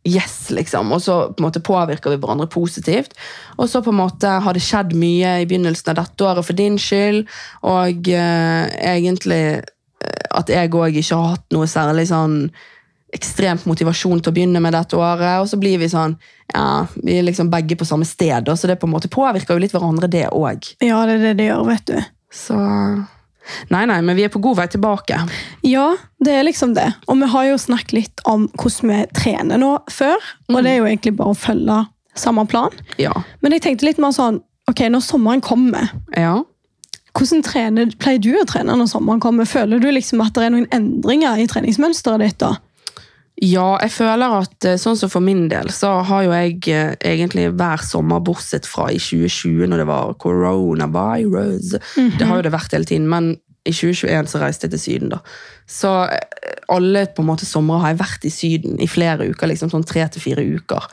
Yes, liksom. Og så på en måte påvirker vi hverandre positivt. Og så på en måte har det skjedd mye i begynnelsen av dette året for din skyld. Og eh, egentlig eh, at jeg òg ikke har hatt noe særlig sånn ekstremt motivasjon til å begynne med dette året. Og så blir vi sånn Ja, vi er liksom begge på samme sted, og så det på en måte påvirker jo litt hverandre, det òg. ja, det er det det gjør, vet du. Så Nei, nei, men vi er på god vei tilbake. Ja, det er liksom det. Og vi har jo snakket litt om hvordan vi trener nå før, og det er jo egentlig bare å følge samme plan. Ja. Men jeg tenkte litt mer sånn, ok, når sommeren kommer, Ja. hvordan trener, pleier du å trene når sommeren kommer? Føler du liksom at det er noen endringer i treningsmønsteret ditt da? Ja, jeg føler at eh, sånn som for min del, så har jo jeg eh, egentlig hver sommer, bortsett fra i 2020, når det var coronavirus, det har jo det vært hele tiden, men i 2021 så reiste jeg til Syden da. Så eh, alle på en måte sommer har jeg vært i Syden i flere uker, liksom sånn tre til fire uker.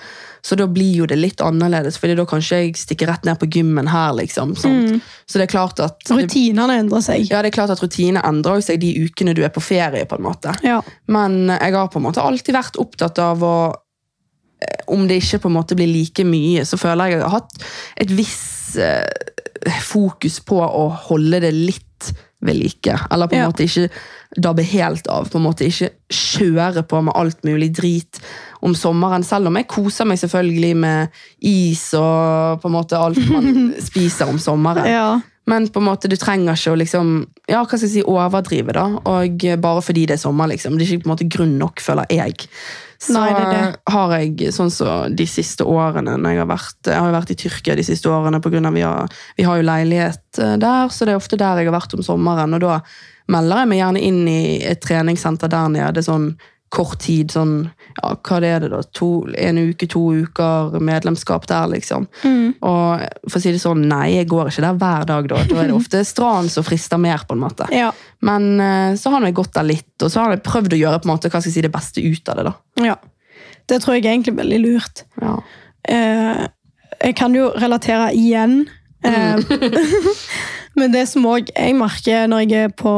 Så da blir jo det litt annerledes, fordi da kanskje jeg stikker rett ned på gymmen her, liksom. sant? Så det er klart at... Rutinene endrer seg. Ja, det er klart at rutine endrer seg de ukene du er på ferie, på en måte. Ja. Men jeg har på en måte alltid vært opptatt av å eh, Om det ikke på en måte blir like mye, så føler jeg at jeg har hatt et visst eh, fokus på å holde det litt ved like. Eller på en Ja. måte ikke dabbe helt av. på en måte Ikke kjøre på med alt mulig drit om sommeren. Selv om jeg koser meg *laughs* selvfølgelig med is og på en måte alt man spiser om sommeren. Ja. Men på en måte, du trenger ikke å liksom, ja, hva skal jeg si, overdrive, da. Og eh, bare fordi det er sommer, liksom. Det er ikke på en måte grunn nok, føler jeg. Så Nei, det er det. har jeg, sånn som de siste årene når Jeg har vært, jeg har jo vært i Tyrkia de siste årene, på grunn av vi har, vi har jo leilighet eh, der, så det er ofte der jeg har vært om sommeren. Og da melder jeg meg gjerne inn i et treningssenter der nede, sånn kort tid, sånn, ja, hva er det da, to, en uke, to uker, medlemskap der, liksom. Og for å si det sånn, nei, jeg går ikke der hver dag da. Da er det ofte stranden som frister mer, på en måte. Ja. Men eh, så har jeg gått der litt, og så har jeg prøvd å gjøre på en måte, hva skal jeg si, det beste ut av det, da. ja. Det tror jeg er egentlig veldig lurt. Ja. Eh, jeg kan jo relatere igjen. Eh, *laughs* men det som òg jeg merker når jeg er på,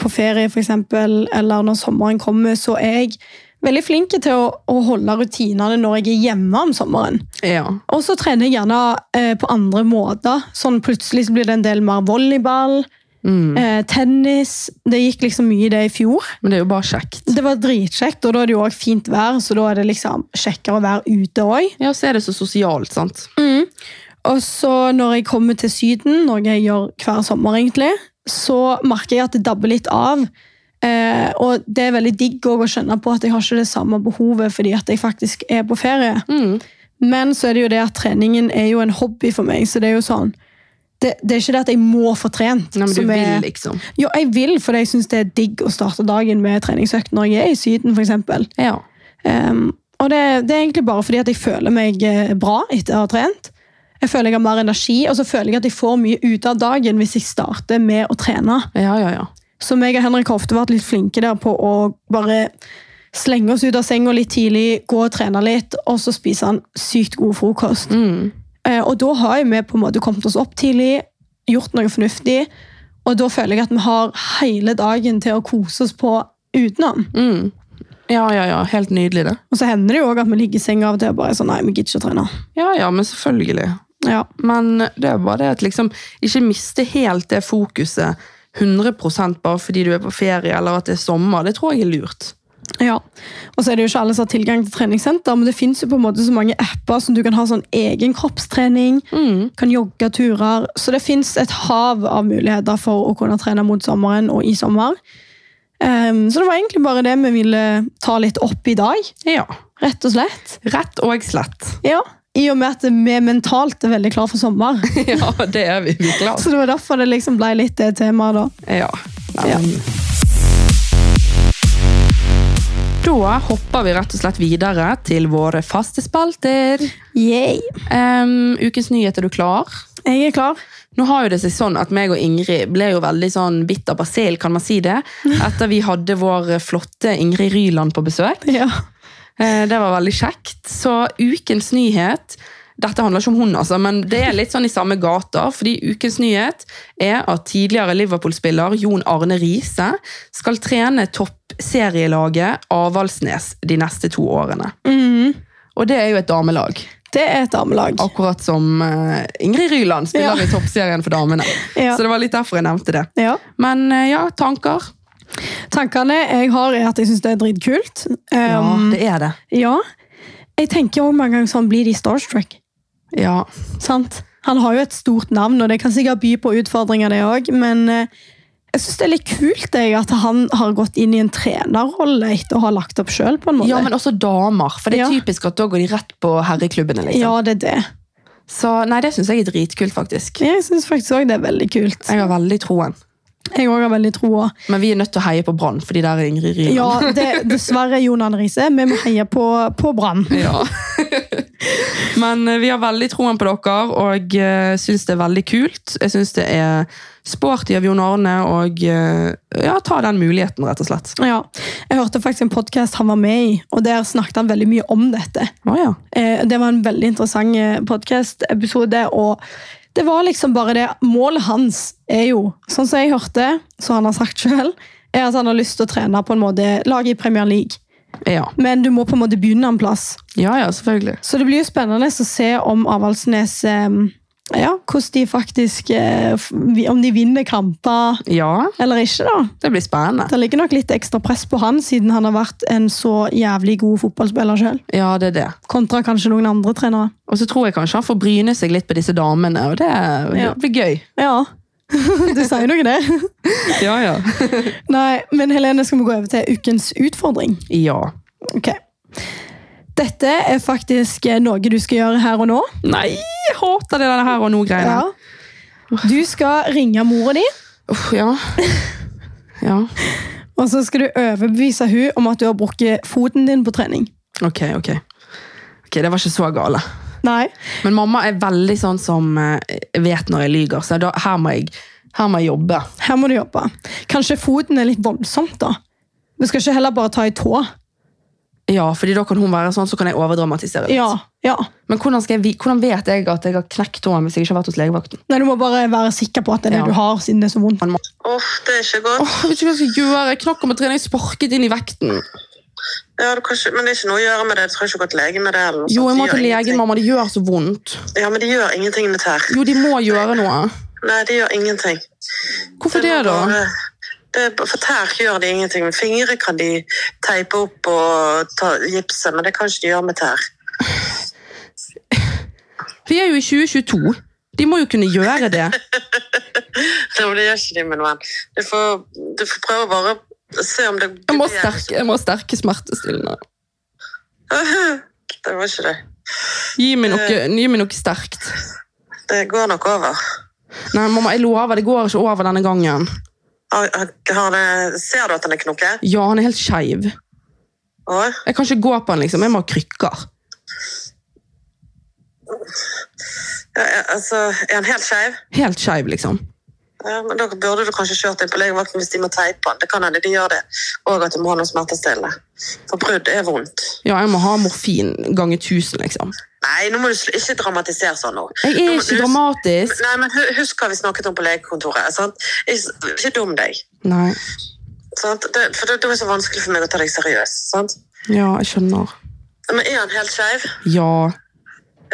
på ferie, f.eks., eller når sommeren kommer, så er jeg veldig flink til å, å holde rutinene når jeg er hjemme om sommeren. ja. Og så trener jeg gjerne eh, på andre måter. Sånn Plutselig så blir det en del mer volleyball, Mm. eh, tennis Det gikk liksom mye i det i fjor. Men det er jo bare kjekt. Det var dritkjekt, og da er det jo òg fint vær, så da er det liksom kjekkere å være ute òg. Ja, så er det så sosialt, sant? Og så når jeg kommer til syden, noe jeg gjør hver sommer egentlig, så merker jeg at det dabber litt av. Eh, og det er veldig digg også å skjønne på at jeg har ikke det samme behovet fordi at jeg faktisk er på ferie. Mm. Men så er det jo det at treningen er jo en hobby for meg, så det er jo sånn Det, det er ikke det at jeg må få trent. Nei, men du som er- vil liksom. Jo, jeg vil, for jeg syns det er digg å starte dagen med treningsøkt når jeg er i Syden, f.eks. Ja. Um, og det, det er egentlig bare fordi at jeg føler meg eh, bra etter å ha trent. Jeg føler jeg har mer energi, og så føler jeg at jeg får mye ut av dagen hvis jeg starter med å trene. Ja, ja, ja. Så meg og Henrik har ofte vært litt flinke der på å bare slenge oss ut av senga litt tidlig, gå og trene litt, og så spise en sykt god frokost. Mm. Eh, og da har jo vi på en måte kommet oss opp tidlig, gjort noe fornuftig, og da føler jeg at vi har hele dagen til å kose oss på utenom. Mm. Ja, ja, ja. Helt nydelig, det. Og så hender det jo òg at vi ligger i senga av og til og bare er sånn Nei, vi gidder ikke å trene. Ja, ja, men selvfølgelig. Ja. Men det er bare det at liksom ikke miste helt det fokuset 100 bare fordi du er på ferie eller at det er sommer. Det tror jeg er lurt. ja. Og så er det jo ikke alle som har tilgang til treningssenter, men det fins jo på en måte så mange apper som du kan ha sånn egen kroppstrening, Mm. kan jogge turer Så det fins et hav av muligheter for å kunne trene mot sommeren og i sommer. Ehm, så det var egentlig bare det vi ville ta litt opp i dag, Ja. rett og slett. Rett og slett. Ja. I og med at vi mentalt er veldig klar for sommer. *laughs* *laughs* ja, det er vi. Vi er klare. Så det var derfor det liksom ble litt det temaet, da. Ja. Nei, men- Da hopper vi rett og slett videre til våre faste spalter. Yay. Em, ukens nyhet, er du klar? Jeg er klar. Nå har jo det seg sånn at meg og Ingrid ble jo veldig sånn bitt av basil, kan man si det, etter vi hadde vår flotte Ingrid Ryland på besøk. Ja. Eh, Det var veldig kjekt. Så ukens nyhet Dette handler ikke om hun, altså, men det er litt sånn i samme gata. fordi ukens nyhet er at tidligere Liverpool-spiller Jon Arne Riise skal trene toppserielaget Avaldsnes de neste to årene. Mhm. Og det er jo et damelag. Det er et damelag. Akkurat som eh, Ingrid Ryland Ja. spiller i toppserien for damene. Ja. Så det var litt derfor jeg nevnte det. Ja. Men eh, ja, tanker. Tankene jeg har, er at jeg syns det er dritkult. Um, ja, det er det. Jeg tenker også mange ganger sånn, blir de starstruck? Ja. Sant? Han har jo et stort navn, og det kan sikkert by på utfordringer, det òg, men eh, jeg syns det er litt kult jeg, at han har gått inn i en trenerrolle etter å ha lagt opp sjøl, på en måte. ja, men også damer. For det er Ja. typisk at da går de rett på herreklubbene. liksom. Ja, det er det. Så nei, det syns jeg er dritkult, faktisk. Jeg syns faktisk òg det er veldig kult. Jeg har veldig troen. Jeg òg har veldig troa. Men vi er nødt til å heie på Brann, fordi der er Ingrid Ryland. Ja, det, dessverre, Jon Arne Riise, vi må heie på, på Brann. Ja. *laughs* Men eh, vi har veldig troen på dere, og uh, syns det er veldig kult. Jeg syns det er sporty av Jon Arne og eh, ja, ta den muligheten, rett og slett. Ja. Jeg hørte faktisk en podkast han var med i, og der snakket han veldig mye om dette. Å ja. Eh, Det var en veldig interessant podkast-episode. Og det var liksom bare det Målet hans er jo, sånn som jeg hørte, som han har sagt sjøl, er at han har lyst til å trene på en måte laget i Premier League. ja. Men du må på en måte begynne en plass. Ja, ja, selvfølgelig. Så det blir jo spennende å se om Avaldsnes eh, ja, hvordan de faktisk eh, f- Om de vinner kamper Ja, eller ikke, da. det blir spennende. Det ligger nok litt ekstra press på han, siden han har vært en så jævlig god fotballspiller sjøl. Ja, det er det. Kontra kanskje noen andre trenere. Og så tror jeg kanskje han får bryne seg litt på disse damene, og det, Ja. det blir gøy. Ja, *laughs* Du sier noe, det. Ja, ja. Nei, men Helene, skal vi gå over til ukens utfordring? *laughs* Ja. Ok. Dette er faktisk noe du skal gjøre her og nå. Nei, jeg hater det der her og nå-greiene. Ja. Du skal ringe mora di, Uff, ja. *laughs* Ja. og så skal du overbevise hun om at du har brukket foten din på trening. Ok, ok. Ok, Det var ikke så gale. Nei. Men mamma er veldig sånn som eh, vet når jeg lyger, så da, her, må jeg, her må jeg jobbe. Her må du jobbe. Kanskje foten er litt voldsomt, da. Du skal ikke heller bare ta i tå. Ja, fordi da kan hun være sånn, så kan jeg overdramatisere litt. Ja, ja. Men hvordan, skal jeg, vi- hvordan vet jeg at jeg har knekt tåen hvis jeg ikke har vært hos legevakten? Nei, Du må bare være sikker på at det er det Ja. du har, siden det er så vondt. *laughs* Uff, det er ikke godt. Åh, jeg vet ikke hva jeg skal gjøre. Jeg knakk om å trene, jeg sparket inn i vekten. Ja, du kan ikke, men det er ikke noe å gjøre med det. Du trenger ikke gå til legen med det. Eller noe Jo, sånt. jeg må Det til gjør legen, ingenting. mamma. Det gjør så vondt. Ja, men det gjør ingenting med tær. Jo, de må gjøre noe. Nei, det gjør ingenting. Hvorfor det, må da? bare- Det, er- for tær gjør det ingenting. Med fingre kan de teipe opp og ta, gipse, men det kan ikke de gjøre med tær. *laughs* Vi er jo i 2022. De må jo kunne gjøre det. *laughs* Det, det gjør ikke de med noen. Du får, du får prøve bare å se om det Jeg må ha *laughs* sterke, jeg må ha sterke smertestillende. Det var ikke det. Gi meg noe, gi meg noe sterkt. Det går nok over. Nei, mamma, jeg lover. Det går ikke over denne gangen. Har, har det, ser du at den er knokket? Ja, han er helt skeiv. Å? Jeg kan ikke gå på han, liksom. Jeg må ha krykker. Ja, ja, altså, er han helt skeiv? Helt skeiv, liksom. Ja, men da burde du kanskje kjørt inn på legevakten hvis de må teipe den. Det kan hende de gjør det. Og at du må ha noe smertestillende. For brudd er vondt. Ja, jeg må ha morfin ganger tusen, liksom. Nei, nå må du sl- ikke dramatisere sånn nå. Jeg Nå er må ikke du- dramatisk. Nei, men hu- husk hva vi snakket om på legekontoret. Sant? Ikke, ikke dum deg. Nei. Sant? Det, for det, det er så vanskelig for meg å ta deg seriøst. Sant? Ja, jeg skjønner. Men er han helt skeiv? Ja.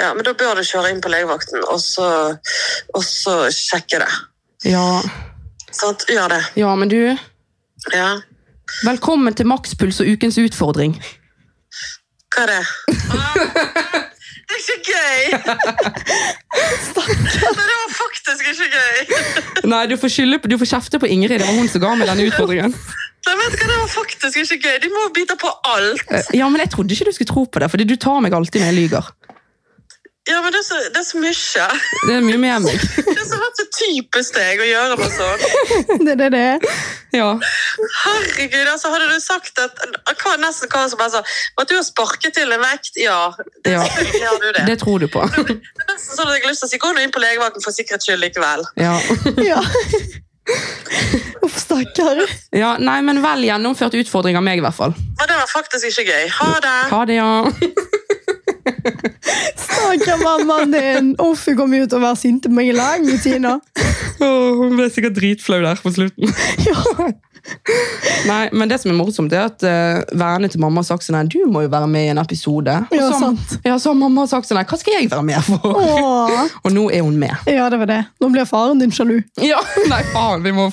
Ja, men da bør du kjøre inn på legevakten og så, og så sjekke det. Ja. Sant? Gjør det. Ja, men du Ja. Velkommen til Makspuls og ukens utfordring. Hva er det? Ah, Det er ikke gøy! Nei, det var faktisk ikke gøy. Nei, du får, skylde, på- du får kjefte på Ingrid. Det var hun som ga meg denne utfordringen. Nei, vet du hva, det var faktisk ikke gøy. De må bite på alt. Eh, Ja, men Jeg trodde ikke du skulle tro på det, for du tar meg alltid når jeg lyver. Ja, men det er så, det er så mye. Det er mye mer enn meg. Det er så, så typisk deg å gjøre sånn. noe sånt. Det, det, det. Ja. Herregud, altså hadde du sagt at hva, nesten hva som helst, altså, at du har sparket til en vekt, ja, det Ja. gjør du det. Det tror du på. Det er nesten sånn at jeg har lyst til å si, gå nå inn på legevakten for sikkerhets skyld likevel. Ja. Ja. *laughs* Uff, stakkar. ja, Nei, men vel gjennomført utfordring av meg, i hvert fall. Men det var faktisk ikke gøy. Ha det! Ha det, ja. *laughs* Stakkar mammaen din. Uff, hun kommer jo til å være sint på meg i lang tid nå. hun ble sikkert dritflau der på slutten. *laughs* Ja. *laughs* Nei, men det som er morsomt, er at eh, vennene til mamma har sagt sånn her, du må jo være med i en episode. Og Ja, så- sant. Ja, så har mamma sagt sånn her, hva skal jeg være med for? Åh. Og nå er hun med. Ja, det var det. Nå blir faren din sjalu. Ja, *laughs* nei, faen, vi må,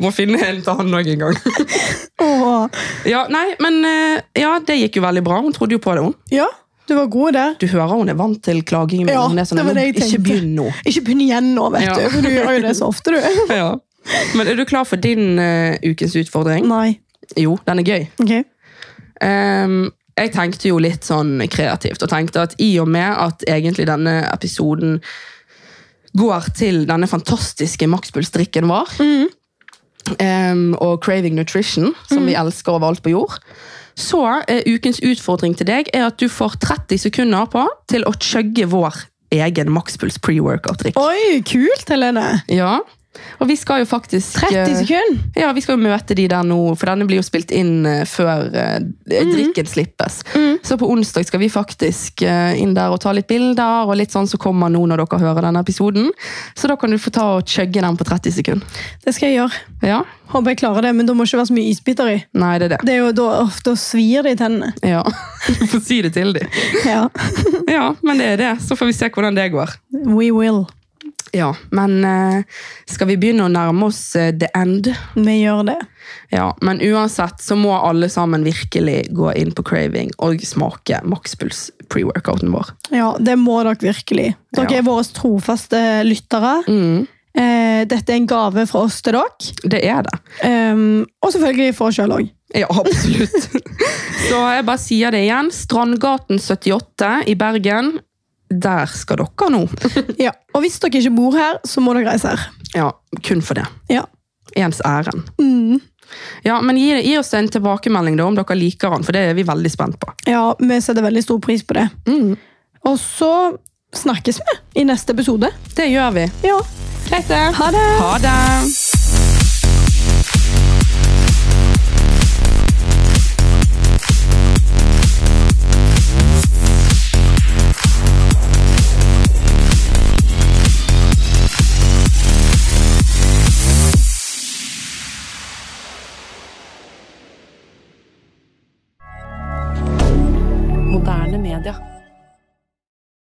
må finne en til han òg en gang. Åh. *laughs* Ja, nei, men eh, ja, det gikk jo veldig bra. Hun trodde jo på det, hun. Ja, du var god der. Du hører hun er vant til klagingen min. Ja, hun er sånn, det var "Nå, det jeg ikke tenkte." begynn nå. Ikke begynn igjen nå, vet Ja. du. For du gjør jo det så ofte, du. *laughs* Ja. Men er du klar for din eh, ukens utfordring? Nei. Jo, den er gøy. Ok. Ehm, jeg tenkte jo litt sånn kreativt, og tenkte at i og med at egentlig denne episoden går til denne fantastiske makspulsdrikken vår, ehm, og Craving Nutrition, som vi elsker overalt på jord, så eh, ukens utfordring til deg er at du får 30 sekunder på til å chugge vår egen makspuls pre-workout-drikk. Oi, kult, Helene. Ja, og vi skal jo faktisk... 30 eh, sekunder. ja, vi skal jo møte de der nå, for denne blir jo spilt inn eh, før eh, drikken slippes. Så på onsdag skal vi faktisk eh, inn der og ta litt bilder, og litt sånn som kommer nå når dere hører denne episoden. Så da kan du få ta og chugge den på 30 sekunder. Det skal jeg gjøre. Ja? Håper jeg klarer det, men da må det ikke være så mye isbiter i. Nei, det er det. Det er jo da ofte å svir det i tennene. Ja. *laughs* Du får si det til dem. Ja. Ja, men det er det. Så får vi se hvordan det går. We will. Ja, men eh, skal vi begynne å nærme oss eh, the end? Vi gjør det. Ja, men uansett så må alle sammen virkelig gå inn på Craving og smake Maxpuls pre-workouten vår. Ja, det må dere virkelig. Dere Ja. Mm. er våre trofaste lyttere. Eh, dette er en gave fra oss til dere. Det er det. Ehm, og selvfølgelig for oss sjøl òg. Ja, absolutt. *laughs* Så jeg bare sier det igjen. Strandgaten 78 i Bergen. Der skal dere nå. Ja. Og hvis dere ikke bor her, så må dere reise her. Ja, kun for det. Ja. Ens ærend. Mm. Ja, men gi, gi oss en tilbakemelding da, om dere liker han, for det er vi veldig spent på. ja, vi setter veldig stor pris på det. Mm. Og så snakkes vi i neste episode. Det gjør vi. Ja. Greit det. Ha det! Ha det. Moderne media.